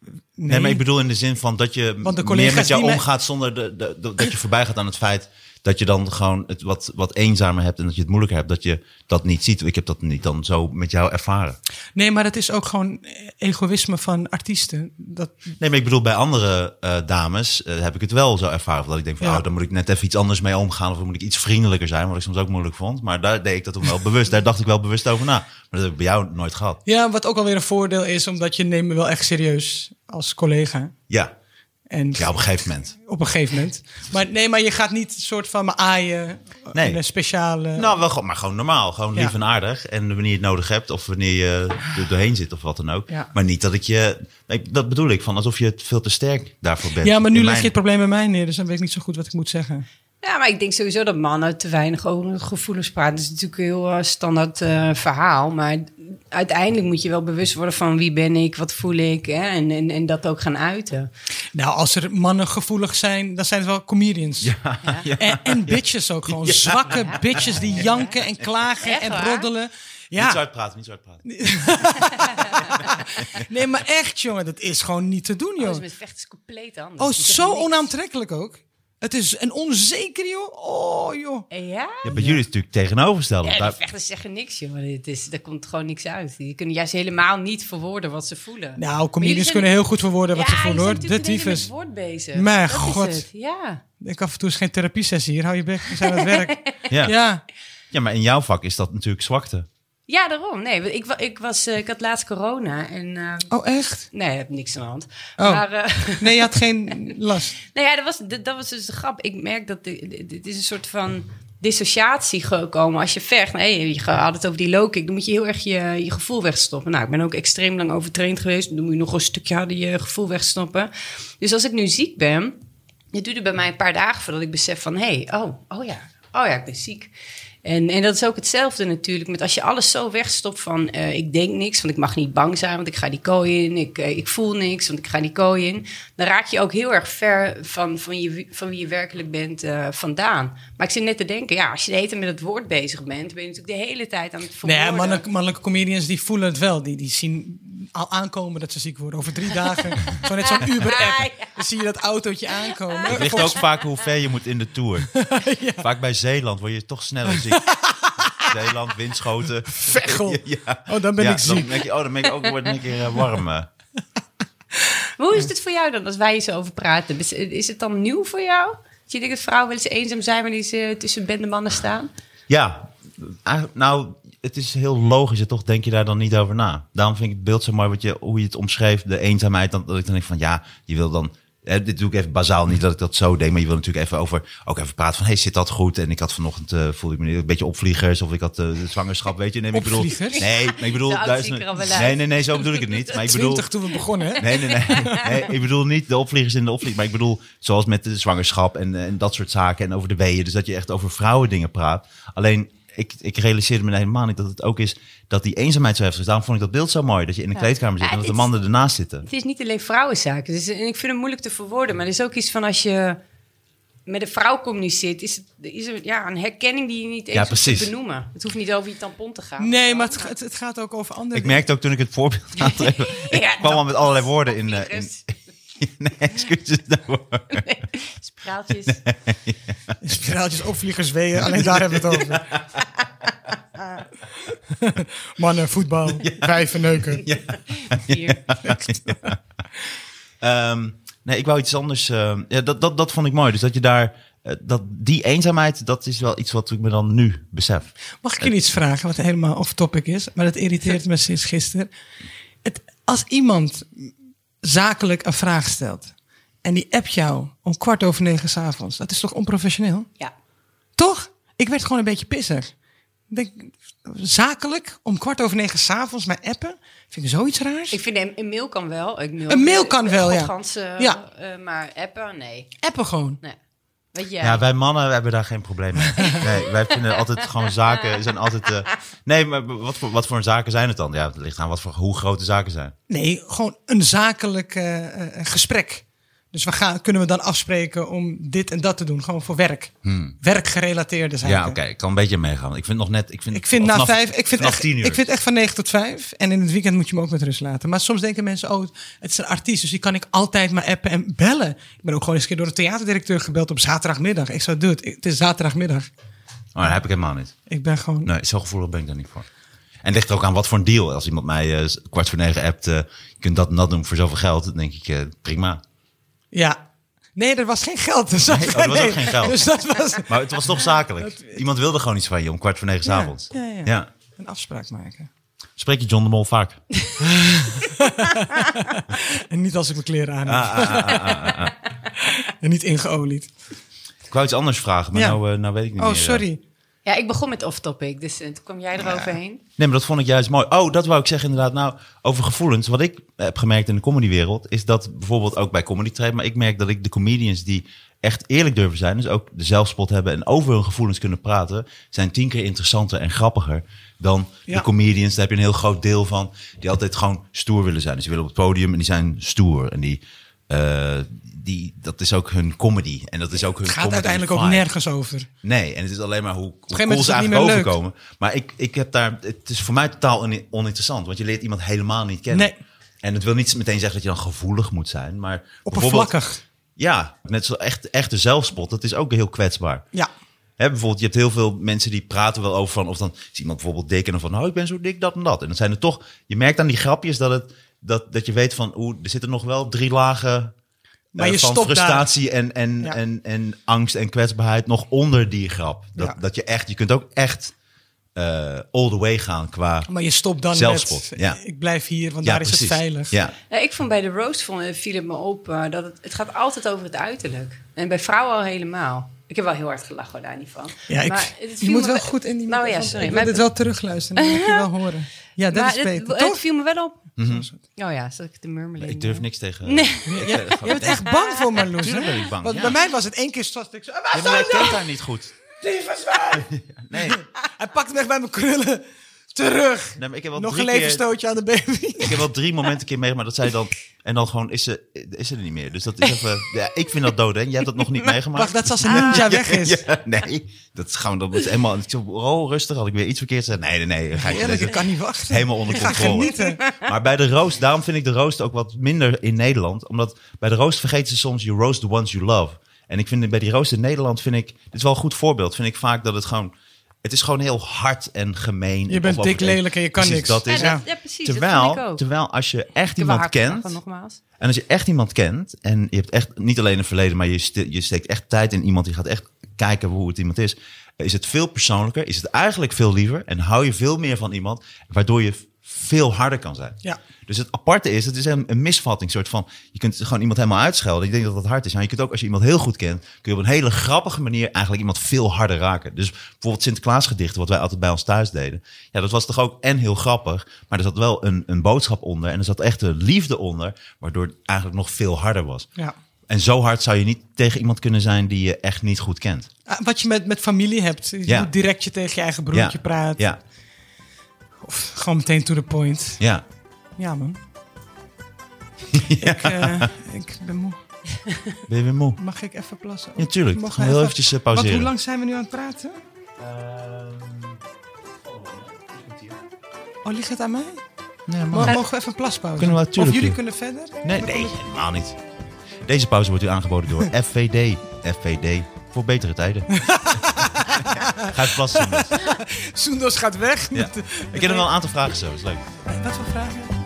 Speaker 3: Nee,
Speaker 2: nee, maar ik bedoel in de zin van dat je
Speaker 3: Want de
Speaker 2: meer
Speaker 3: collega's
Speaker 2: met jou
Speaker 3: die mij-
Speaker 2: omgaat zonder de, de- de- dat je voorbij gaat aan het feit dat je dan gewoon het wat, wat eenzamer hebt en dat je het moeilijker hebt. Dat je dat niet ziet. Ik heb dat niet dan zo met jou ervaren.
Speaker 3: nee, maar dat is ook gewoon egoïsme van artiesten. Dat,
Speaker 2: Nee, maar ik bedoel, bij andere eh, dames eh, heb ik het wel zo ervaren. Dat ik denk van,
Speaker 3: Ja.
Speaker 2: oh, dan moet ik net even iets anders mee omgaan. Of dan moet ik iets vriendelijker zijn, wat ik soms ook moeilijk vond. Maar daar deed ik dat toen wel bewust. Daar dacht ik wel bewust over na. Maar dat heb ik bij jou nooit gehad.
Speaker 3: ja, wat ook alweer een voordeel is, omdat je neemt me wel echt serieus als collega.
Speaker 2: Ja,
Speaker 3: En
Speaker 2: ja op een gegeven moment.
Speaker 3: op een gegeven moment. Maar nee, maar je gaat niet soort van me aaien.
Speaker 2: Nee.
Speaker 3: in Een speciale.
Speaker 2: Nou, wel, gewoon- maar gewoon normaal. Gewoon lief
Speaker 3: Ja.
Speaker 2: en aardig. En wanneer je het nodig hebt of wanneer je er doorheen zit of wat dan ook.
Speaker 3: Ja.
Speaker 2: Maar niet dat ik je... nee, dat bedoel ik, van alsof je het veel te sterk daarvoor bent.
Speaker 3: ja, maar nu
Speaker 2: In
Speaker 3: leg
Speaker 2: mijn-
Speaker 3: je het probleem bij mij neer, dus dan weet ik niet zo goed wat ik moet zeggen.
Speaker 4: Ja, maar ik denk sowieso dat mannen te weinig over hun gevoelens praten. Dat is natuurlijk een heel eh, standaard eh, verhaal. Maar uiteindelijk moet je wel bewust worden van wie ben ik, wat voel ik. Hè? En, en, en dat ook gaan uiten.
Speaker 3: Nou, als er mannen gevoelig zijn, dan zijn het wel comedians. En, en bitches ook gewoon. Zwakke bitches die janken en klagen
Speaker 4: Echt
Speaker 3: en
Speaker 4: waar?
Speaker 3: roddelen. Ja.
Speaker 2: Niet zo uitpraten, niet zo uitpraten.
Speaker 3: Nee, maar echt, jongen, dat Oh, is gewoon niet te doen,
Speaker 4: Dus
Speaker 3: joh.
Speaker 4: met vechten is compleet anders.
Speaker 3: Oh,
Speaker 4: Je doet
Speaker 3: zo
Speaker 4: niks.
Speaker 3: onaantrekkelijk ook. Het is een onzeker, joh. Oh, joh.
Speaker 4: Ja?
Speaker 2: Ja, bij jullie is het natuurlijk tegenovergesteld.
Speaker 4: Ja, die vechters zeggen niks, joh. Het is, er komt gewoon niks uit. Die kunnen juist helemaal niet verwoorden wat ze voelen. Maar
Speaker 3: Nou,
Speaker 4: jullie
Speaker 3: comedians
Speaker 4: zijn-
Speaker 3: kunnen heel goed verwoorden wat
Speaker 4: ja,
Speaker 3: ze voelen,
Speaker 4: je
Speaker 3: hoor.
Speaker 4: bent
Speaker 3: De
Speaker 4: natuurlijk alleen
Speaker 3: tyfus.
Speaker 4: maar met woord bezig.
Speaker 3: Maar
Speaker 4: Dat is
Speaker 3: god.
Speaker 4: het, Ja.
Speaker 3: Ik af en toe is geen therapiesessie hier. Hou je bek, we zijn aan het werk.
Speaker 2: Ja.
Speaker 3: Ja.
Speaker 2: ja, maar in jouw vak is dat natuurlijk zwakte.
Speaker 4: ja, daarom. Nee, want ik, wa- ik, was, eh, ik had laatst corona en... eh,
Speaker 3: Oh, echt?
Speaker 4: Nee, ik heb niks aan de hand.
Speaker 3: Oh.
Speaker 4: Maar, eh,
Speaker 3: Nee, je had geen last.
Speaker 4: nou ja, dat was, dat, dat was dus de grap. Ik merk dat de- de- dit is een soort van dissociatie gekomen als je vecht. Nee, je had het over die low kick. Dan moet je heel erg je, je gevoel wegstoppen. Nou, ik ben ook extreem lang overtraind geweest. Dan moet je nog een stukje harder je gevoel wegstoppen. Dus als ik nu ziek ben, het duurde bij mij een paar dagen voordat ik besef van... hé, hey, oh, oh ja, oh ja, ik ben ziek. En, en dat is ook hetzelfde natuurlijk. Met als je alles zo wegstopt van eh, ik denk niks, want ik mag niet bang zijn, want ik ga die kooi in. Ik, eh, ik voel niks, want ik ga die kooi in. Dan raak je ook heel erg ver van, van, je, van wie je werkelijk bent eh, vandaan. Maar ik zit net te denken, ja, als je de hele tijd met het woord bezig bent, ben je natuurlijk de hele tijd aan het
Speaker 3: Nee,
Speaker 4: verwoorden.
Speaker 3: ja, mannelijke, mannelijke comedians die voelen het wel. Die, die zien al aankomen dat ze ziek worden. Over drie dagen, zo net zo'n
Speaker 4: Ah,
Speaker 3: Uber-app.
Speaker 4: ja.
Speaker 3: Dan zie je dat autootje aankomen.
Speaker 2: Het ligt ook
Speaker 3: Volgens-
Speaker 2: vaak hoe ver je moet in de Tour. Vaak bij Zeeland word je toch sneller ziek. Zeeland, windschoten.
Speaker 3: Veghel.
Speaker 2: Ja.
Speaker 3: Oh, dan ben ik ziek.
Speaker 2: Dan merk je, oh, dan ben ik ook word ik een keer eh, warm. eh.
Speaker 4: Maar hoe is het voor jou dan als wij hier zo over praten? Is- Is het dan nieuw voor jou? Dat je denkt dat vrouwen wel eens eenzaam zijn wanneer ze tussen bende mannen staan?
Speaker 2: Ja, eigenlijk- nou, het is heel logisch. En toch denk je daar dan niet over na. Daarom vind ik het beeld zo mooi wat je, hoe je het omschreef. De eenzaamheid. Dan, dat ik dan denk van, ja, je wil dan... Hè, dit doe ik even bazaal, niet dat ik dat zo denk. Maar je wil natuurlijk even over, ook even praten van... hey, zit dat goed? En ik had vanochtend, eh, voelde ik me een beetje opvliegers. Of ik had eh, de zwangerschap, weet je. Nee, maar ik bedoel,
Speaker 3: Opvliegers?
Speaker 2: nee, maar ik bedoel...
Speaker 4: De
Speaker 2: duizenden-
Speaker 4: oud-ziekerabbelij.
Speaker 2: nee, nee, nee, zo bedoel ik het niet. Maar ik bedoel,
Speaker 3: 20 toen we begonnen, hè?
Speaker 2: Nee, nee, nee, nee. Ik bedoel niet de opvliegers in de opvlieg. Maar ik bedoel, zoals met de zwangerschap en, eh, en dat soort zaken. En over de weeën. Dus dat je echt over vrouwen dingen praat. Alleen, ik, ik realiseerde me helemaal niet dat het ook is dat die eenzaamheid zo heftig is. Daarom vond ik dat beeld zo mooi. Dat je in de kleedkamer zit
Speaker 4: Ja,
Speaker 2: en dat de
Speaker 4: dit-
Speaker 2: mannen ernaast zitten.
Speaker 4: Het is niet alleen vrouwenzaak. Het is, en ik vind het moeilijk te verwoorden. Maar er is ook iets van als je met een vrouw communiceert... is, het, is er ja, een herkenning die je niet eens
Speaker 2: Ja,
Speaker 4: hoeft te
Speaker 2: precies.
Speaker 4: benoemen. Het hoeft niet over je tampon te gaan.
Speaker 3: Nee, maar het, het, het gaat ook over andere
Speaker 2: Ik merkte ook toen ik het voorbeeld aantreef. Ik
Speaker 4: Ja,
Speaker 2: kwam al
Speaker 4: dat-
Speaker 2: met allerlei woorden in. eh, in
Speaker 4: Virus,
Speaker 2: nee, excuses daarvoor.
Speaker 4: spraaltjes.
Speaker 3: Spiraaltjes, opvliegers, weeën. Alleen daar hebben we het over. Mannen, voetbal, wijven, neuken.
Speaker 4: Hier.
Speaker 2: Ehm, nee, ik wou iets anders. ehm, ja, dat, dat, dat vond ik mooi. Dus dat je daar. eh, dat, die eenzaamheid, dat is wel iets wat ik me dan nu besef.
Speaker 3: Mag ik jullie iets vragen wat helemaal off-topic is? Maar dat irriteert me sinds gisteren. Het, als iemand zakelijk een vraag stelt... en die appt jou om kwart over negen s'avonds... dat is toch onprofessioneel?
Speaker 4: Ja.
Speaker 3: Toch? Ik werd gewoon een beetje pissig. Ik Denk, zakelijk om kwart over negen s'avonds mij appen? Vind ik zoiets raars?
Speaker 4: Ik vind een, een mail kan wel. Ik mail,
Speaker 3: Een mail kan
Speaker 4: eh,
Speaker 3: wel, ja.
Speaker 4: godgans, eh,
Speaker 3: Ja.
Speaker 4: eh, maar appen, nee.
Speaker 3: Appen gewoon.
Speaker 4: nee. Weet jij?
Speaker 2: Ja, wij mannen we hebben daar geen probleem mee. Nee, wij vinden altijd gewoon zaken zijn altijd. eh, nee, maar wat voor, wat voor zaken zijn het dan? Ja, het ligt aan wat voor, hoe grote zaken zijn.
Speaker 3: Nee, gewoon een zakelijk eh, eh, gesprek. Dus we gaan, kunnen we dan afspreken om dit en dat te doen? Gewoon voor werk. Werkgerelateerde zaken.
Speaker 2: Hmm. Ja, oké, ik kan een beetje meegaan. Ik vind nog net. Ik vind,
Speaker 3: Ik vind, na
Speaker 2: vanaf-
Speaker 3: vijf, ik, vind
Speaker 2: vanaf
Speaker 3: echt,
Speaker 2: tien uur.
Speaker 3: ik vind echt van 9 tot 5. En in het weekend moet je hem ook met rust laten. Maar soms denken mensen, oh, het is een artiest, dus die kan ik altijd maar appen en bellen. Ik ben ook gewoon eens een keer door de theaterdirecteur gebeld op zaterdagmiddag. Ik zei, dude, ik- het is zaterdagmiddag.
Speaker 2: Maar dat Oh, heb ik helemaal niet.
Speaker 3: Ik ben gewoon...
Speaker 2: Nee, zo gevoelig ben ik daar niet voor. En het ligt er ook aan wat voor een deal. Als iemand mij eh, kwart voor negen appt, eh, je kunt dat en dat doen voor zoveel geld, dan denk ik eh, prima.
Speaker 3: Ja. Nee, er was geen geld. Dus dat-
Speaker 2: oh, er was ook geen geld.
Speaker 3: Dus dat was
Speaker 2: Maar het was toch zakelijk. Iemand wilde gewoon iets van je om kwart voor negen 's
Speaker 3: Ja,
Speaker 2: avonds.
Speaker 3: ja, ja.
Speaker 2: ja.
Speaker 3: een afspraak maken.
Speaker 2: Spreek je John de Mol vaak?
Speaker 3: En niet als ik mijn kleren aan heb.
Speaker 2: Ah,
Speaker 3: en niet ingeolied.
Speaker 2: Ik wou iets anders vragen, maar
Speaker 3: Ja.
Speaker 2: nou, eh, nou weet ik niet
Speaker 3: Oh,
Speaker 2: meer. eh.
Speaker 3: sorry.
Speaker 4: Ja, ik begon met off-topic, dus eh, toen kwam jij eroverheen.
Speaker 2: Nee, maar dat vond ik juist mooi. Oh, dat wou ik zeggen inderdaad. Nou, over gevoelens. Wat ik heb gemerkt in de comedywereld... is dat bijvoorbeeld ook bij comedy trade... maar ik merk dat ik de comedians die echt eerlijk durven zijn... dus ook de zelfspot hebben en over hun gevoelens kunnen praten... zijn tien keer interessanter en grappiger dan
Speaker 3: Ja.
Speaker 2: de comedians. Daar heb je een heel groot deel van... die altijd gewoon stoer willen zijn. Dus die willen op het podium en die zijn stoer. En die... eh, die, dat is ook hun comedy. En dat is ook hun
Speaker 3: Het gaat
Speaker 2: comedy
Speaker 3: uiteindelijk ook
Speaker 2: vibe.
Speaker 3: nergens over.
Speaker 2: Nee, en het is alleen maar hoe, hoe
Speaker 3: gegeven
Speaker 2: cool
Speaker 3: moment
Speaker 2: ze
Speaker 3: is het niet
Speaker 2: eigenlijk
Speaker 3: meer leuk.
Speaker 2: overkomen. Maar ik, ik heb daar, het is voor mij totaal on- oninteressant. Want je leert iemand helemaal niet kennen.
Speaker 3: Nee.
Speaker 2: En het wil niet meteen zeggen dat je dan gevoelig moet zijn. Maar bijvoorbeeld-
Speaker 3: Oppervlakkig.
Speaker 2: Ja, net zo echt, echte zelfspot. Dat is ook heel kwetsbaar.
Speaker 3: Ja.
Speaker 2: Hè, bijvoorbeeld, je hebt heel veel mensen die praten wel over van... of dan is iemand bijvoorbeeld dik en dan van... oh, ik ben zo dik, dat en dat. En dan zijn er toch... Je merkt aan die grapjes dat, het, dat, dat je weet van... oeh, er zitten nog wel drie lagen
Speaker 3: Maar
Speaker 2: eh,
Speaker 3: je
Speaker 2: van
Speaker 3: stopt daar.
Speaker 2: frustratie en, en,
Speaker 3: Ja.
Speaker 2: en, en angst en kwetsbaarheid nog onder die grap. Dat,
Speaker 3: Ja.
Speaker 2: dat je echt... Je kunt ook echt eh, all the way gaan qua...
Speaker 3: Maar je stopt dan
Speaker 2: Zelfspot,
Speaker 3: met,
Speaker 2: ja.
Speaker 3: ik blijf hier, want
Speaker 2: Ja,
Speaker 3: daar is
Speaker 2: precies.
Speaker 3: het veilig.
Speaker 2: Ja.
Speaker 4: Ja, ik vond bij de roast vond, eh, viel het me op eh, dat het, het gaat altijd over het uiterlijk. En bij vrouwen al helemaal. Ik heb wel heel hard gelachen hoor, daar niet van.
Speaker 3: Ja, ik,
Speaker 4: het
Speaker 3: je
Speaker 4: viel
Speaker 3: moet
Speaker 4: me
Speaker 3: wel goed in die
Speaker 4: Nou ja,
Speaker 3: microfoon-
Speaker 4: sorry.
Speaker 3: Ik
Speaker 4: maar-
Speaker 3: wil dit wel terugluisteren, dan moet je wel horen. Ja, dat
Speaker 4: maar
Speaker 3: is
Speaker 4: het,
Speaker 3: beter,
Speaker 4: het
Speaker 3: toch?
Speaker 4: viel me wel op. Oh ja, zat ik te murmelen.
Speaker 2: Mhm. Ik durf niks tegen...
Speaker 4: Nee.
Speaker 2: Ik, eh, gewoon-
Speaker 3: Je bent echt bang voor Marloes,
Speaker 2: Tuurlijk
Speaker 3: hè?
Speaker 2: ben ik bang,
Speaker 3: Want
Speaker 2: ja.
Speaker 3: bij mij was het één keer stond ik zo... "Ah, waar
Speaker 2: Ja, maar
Speaker 3: zijn
Speaker 2: jij
Speaker 3: ze?"
Speaker 2: kent daar niet goed.
Speaker 3: Lieve zwijf!
Speaker 2: Nee,
Speaker 3: Hij pakt hem echt bij mijn krullen. Terug.
Speaker 2: nee maar ik heb wel
Speaker 3: Nog
Speaker 2: drie
Speaker 3: een
Speaker 2: keer-
Speaker 3: levenstootje aan de baby.
Speaker 2: Ik heb wel drie momenten een keer meegemaakt dat zij dan... En dan gewoon is ze, is ze er niet meer. Dus dat is even... Ja, ik vind dat dood, hè? Jij hebt dat nog niet meegemaakt. Ah.
Speaker 3: Wacht, dat is als een ninja weg is.
Speaker 2: Ja, nee, dat gaan we dan dat is helemaal... Ik zo, oh, rustig, had ik weer iets verkeerd gezegd. Nee, nee, nee. Ga ik niet
Speaker 3: Eerlijk, ik
Speaker 2: lezen.
Speaker 3: kan niet wachten.
Speaker 2: Helemaal onder
Speaker 3: ik ga
Speaker 2: controle.
Speaker 3: genieten.
Speaker 2: Maar bij de roast, daarom vind ik de roast ook wat minder in Nederland. Omdat bij de roast vergeten ze soms, you roast the ones you love. En ik vind bij die roast in Nederland, vind ik, dit is wel een goed voorbeeld. Vind ik vaak dat het gewoon, het is gewoon heel hard en gemeen.
Speaker 3: Je bent
Speaker 2: Of-
Speaker 3: dik, lelijk en je kan
Speaker 2: Precies,
Speaker 3: niks.
Speaker 2: Dat
Speaker 4: Ja,
Speaker 2: is,
Speaker 4: dat- ja, precies, dat
Speaker 2: Terwijl,
Speaker 4: vind ik ook.
Speaker 2: terwijl als je echt
Speaker 4: heb wel
Speaker 2: iemand
Speaker 4: hard
Speaker 2: kent,
Speaker 4: gelachen, nogmaals.
Speaker 2: en als je echt iemand kent en je hebt echt niet alleen een verleden, maar je, ste- je steekt echt tijd in iemand, die gaat echt kijken hoe het iemand is, is het veel persoonlijker, is het eigenlijk veel liever en hou je veel meer van iemand, waardoor je v- veel harder kan zijn.
Speaker 3: Ja.
Speaker 2: Dus het aparte is, het is een, een misvatting, soort van, je kunt gewoon iemand helemaal uitschelden. Je denkt dat dat hard is, maar je kunt ook als je iemand heel goed kent, kun je op een hele grappige manier eigenlijk iemand veel harder raken. Dus bijvoorbeeld Sinterklaasgedichten, wat wij altijd bij ons thuis deden. Ja, dat was toch ook en heel grappig, maar er zat wel een, een boodschap onder en er zat echt een liefde onder, waardoor het eigenlijk nog veel harder was.
Speaker 3: Ja.
Speaker 2: En zo hard zou je niet tegen iemand kunnen zijn die je echt niet goed kent.
Speaker 3: Ah, Wat je met, met familie hebt. Je
Speaker 2: Ja.
Speaker 3: moet direct je tegen je eigen broertje
Speaker 2: ja.
Speaker 3: praat.
Speaker 2: Ja,
Speaker 3: Of gewoon meteen to the point.
Speaker 2: ja.
Speaker 3: Ja, man. Ik, eh, ik ben moe.
Speaker 2: Ben je weer moe?
Speaker 3: Mag ik even plassen?
Speaker 2: Ja, tuurlijk.
Speaker 3: Mag
Speaker 2: Gewoon
Speaker 3: we
Speaker 2: heel
Speaker 3: even-
Speaker 2: eventjes, eh,
Speaker 3: Want
Speaker 2: pauzeren.
Speaker 3: hoe lang zijn we nu aan het praten? Oh, ligt het aan mij?
Speaker 2: Nee,
Speaker 3: Mo- Mogen we even een plaspauze?
Speaker 2: Kunnen we-
Speaker 3: of
Speaker 2: tuurlijk,
Speaker 3: jullie
Speaker 2: joh.
Speaker 3: kunnen verder?
Speaker 2: Nee, nee, helemaal niet. Deze pauze wordt u aangeboden door FVD. FVD voor betere tijden. Ga even plassen. jongens.
Speaker 3: Soendos gaat weg.
Speaker 2: Ja.
Speaker 3: Met de-
Speaker 2: Ik heb nog wel een aantal vragen zo, is leuk.
Speaker 3: Wat voor vragen?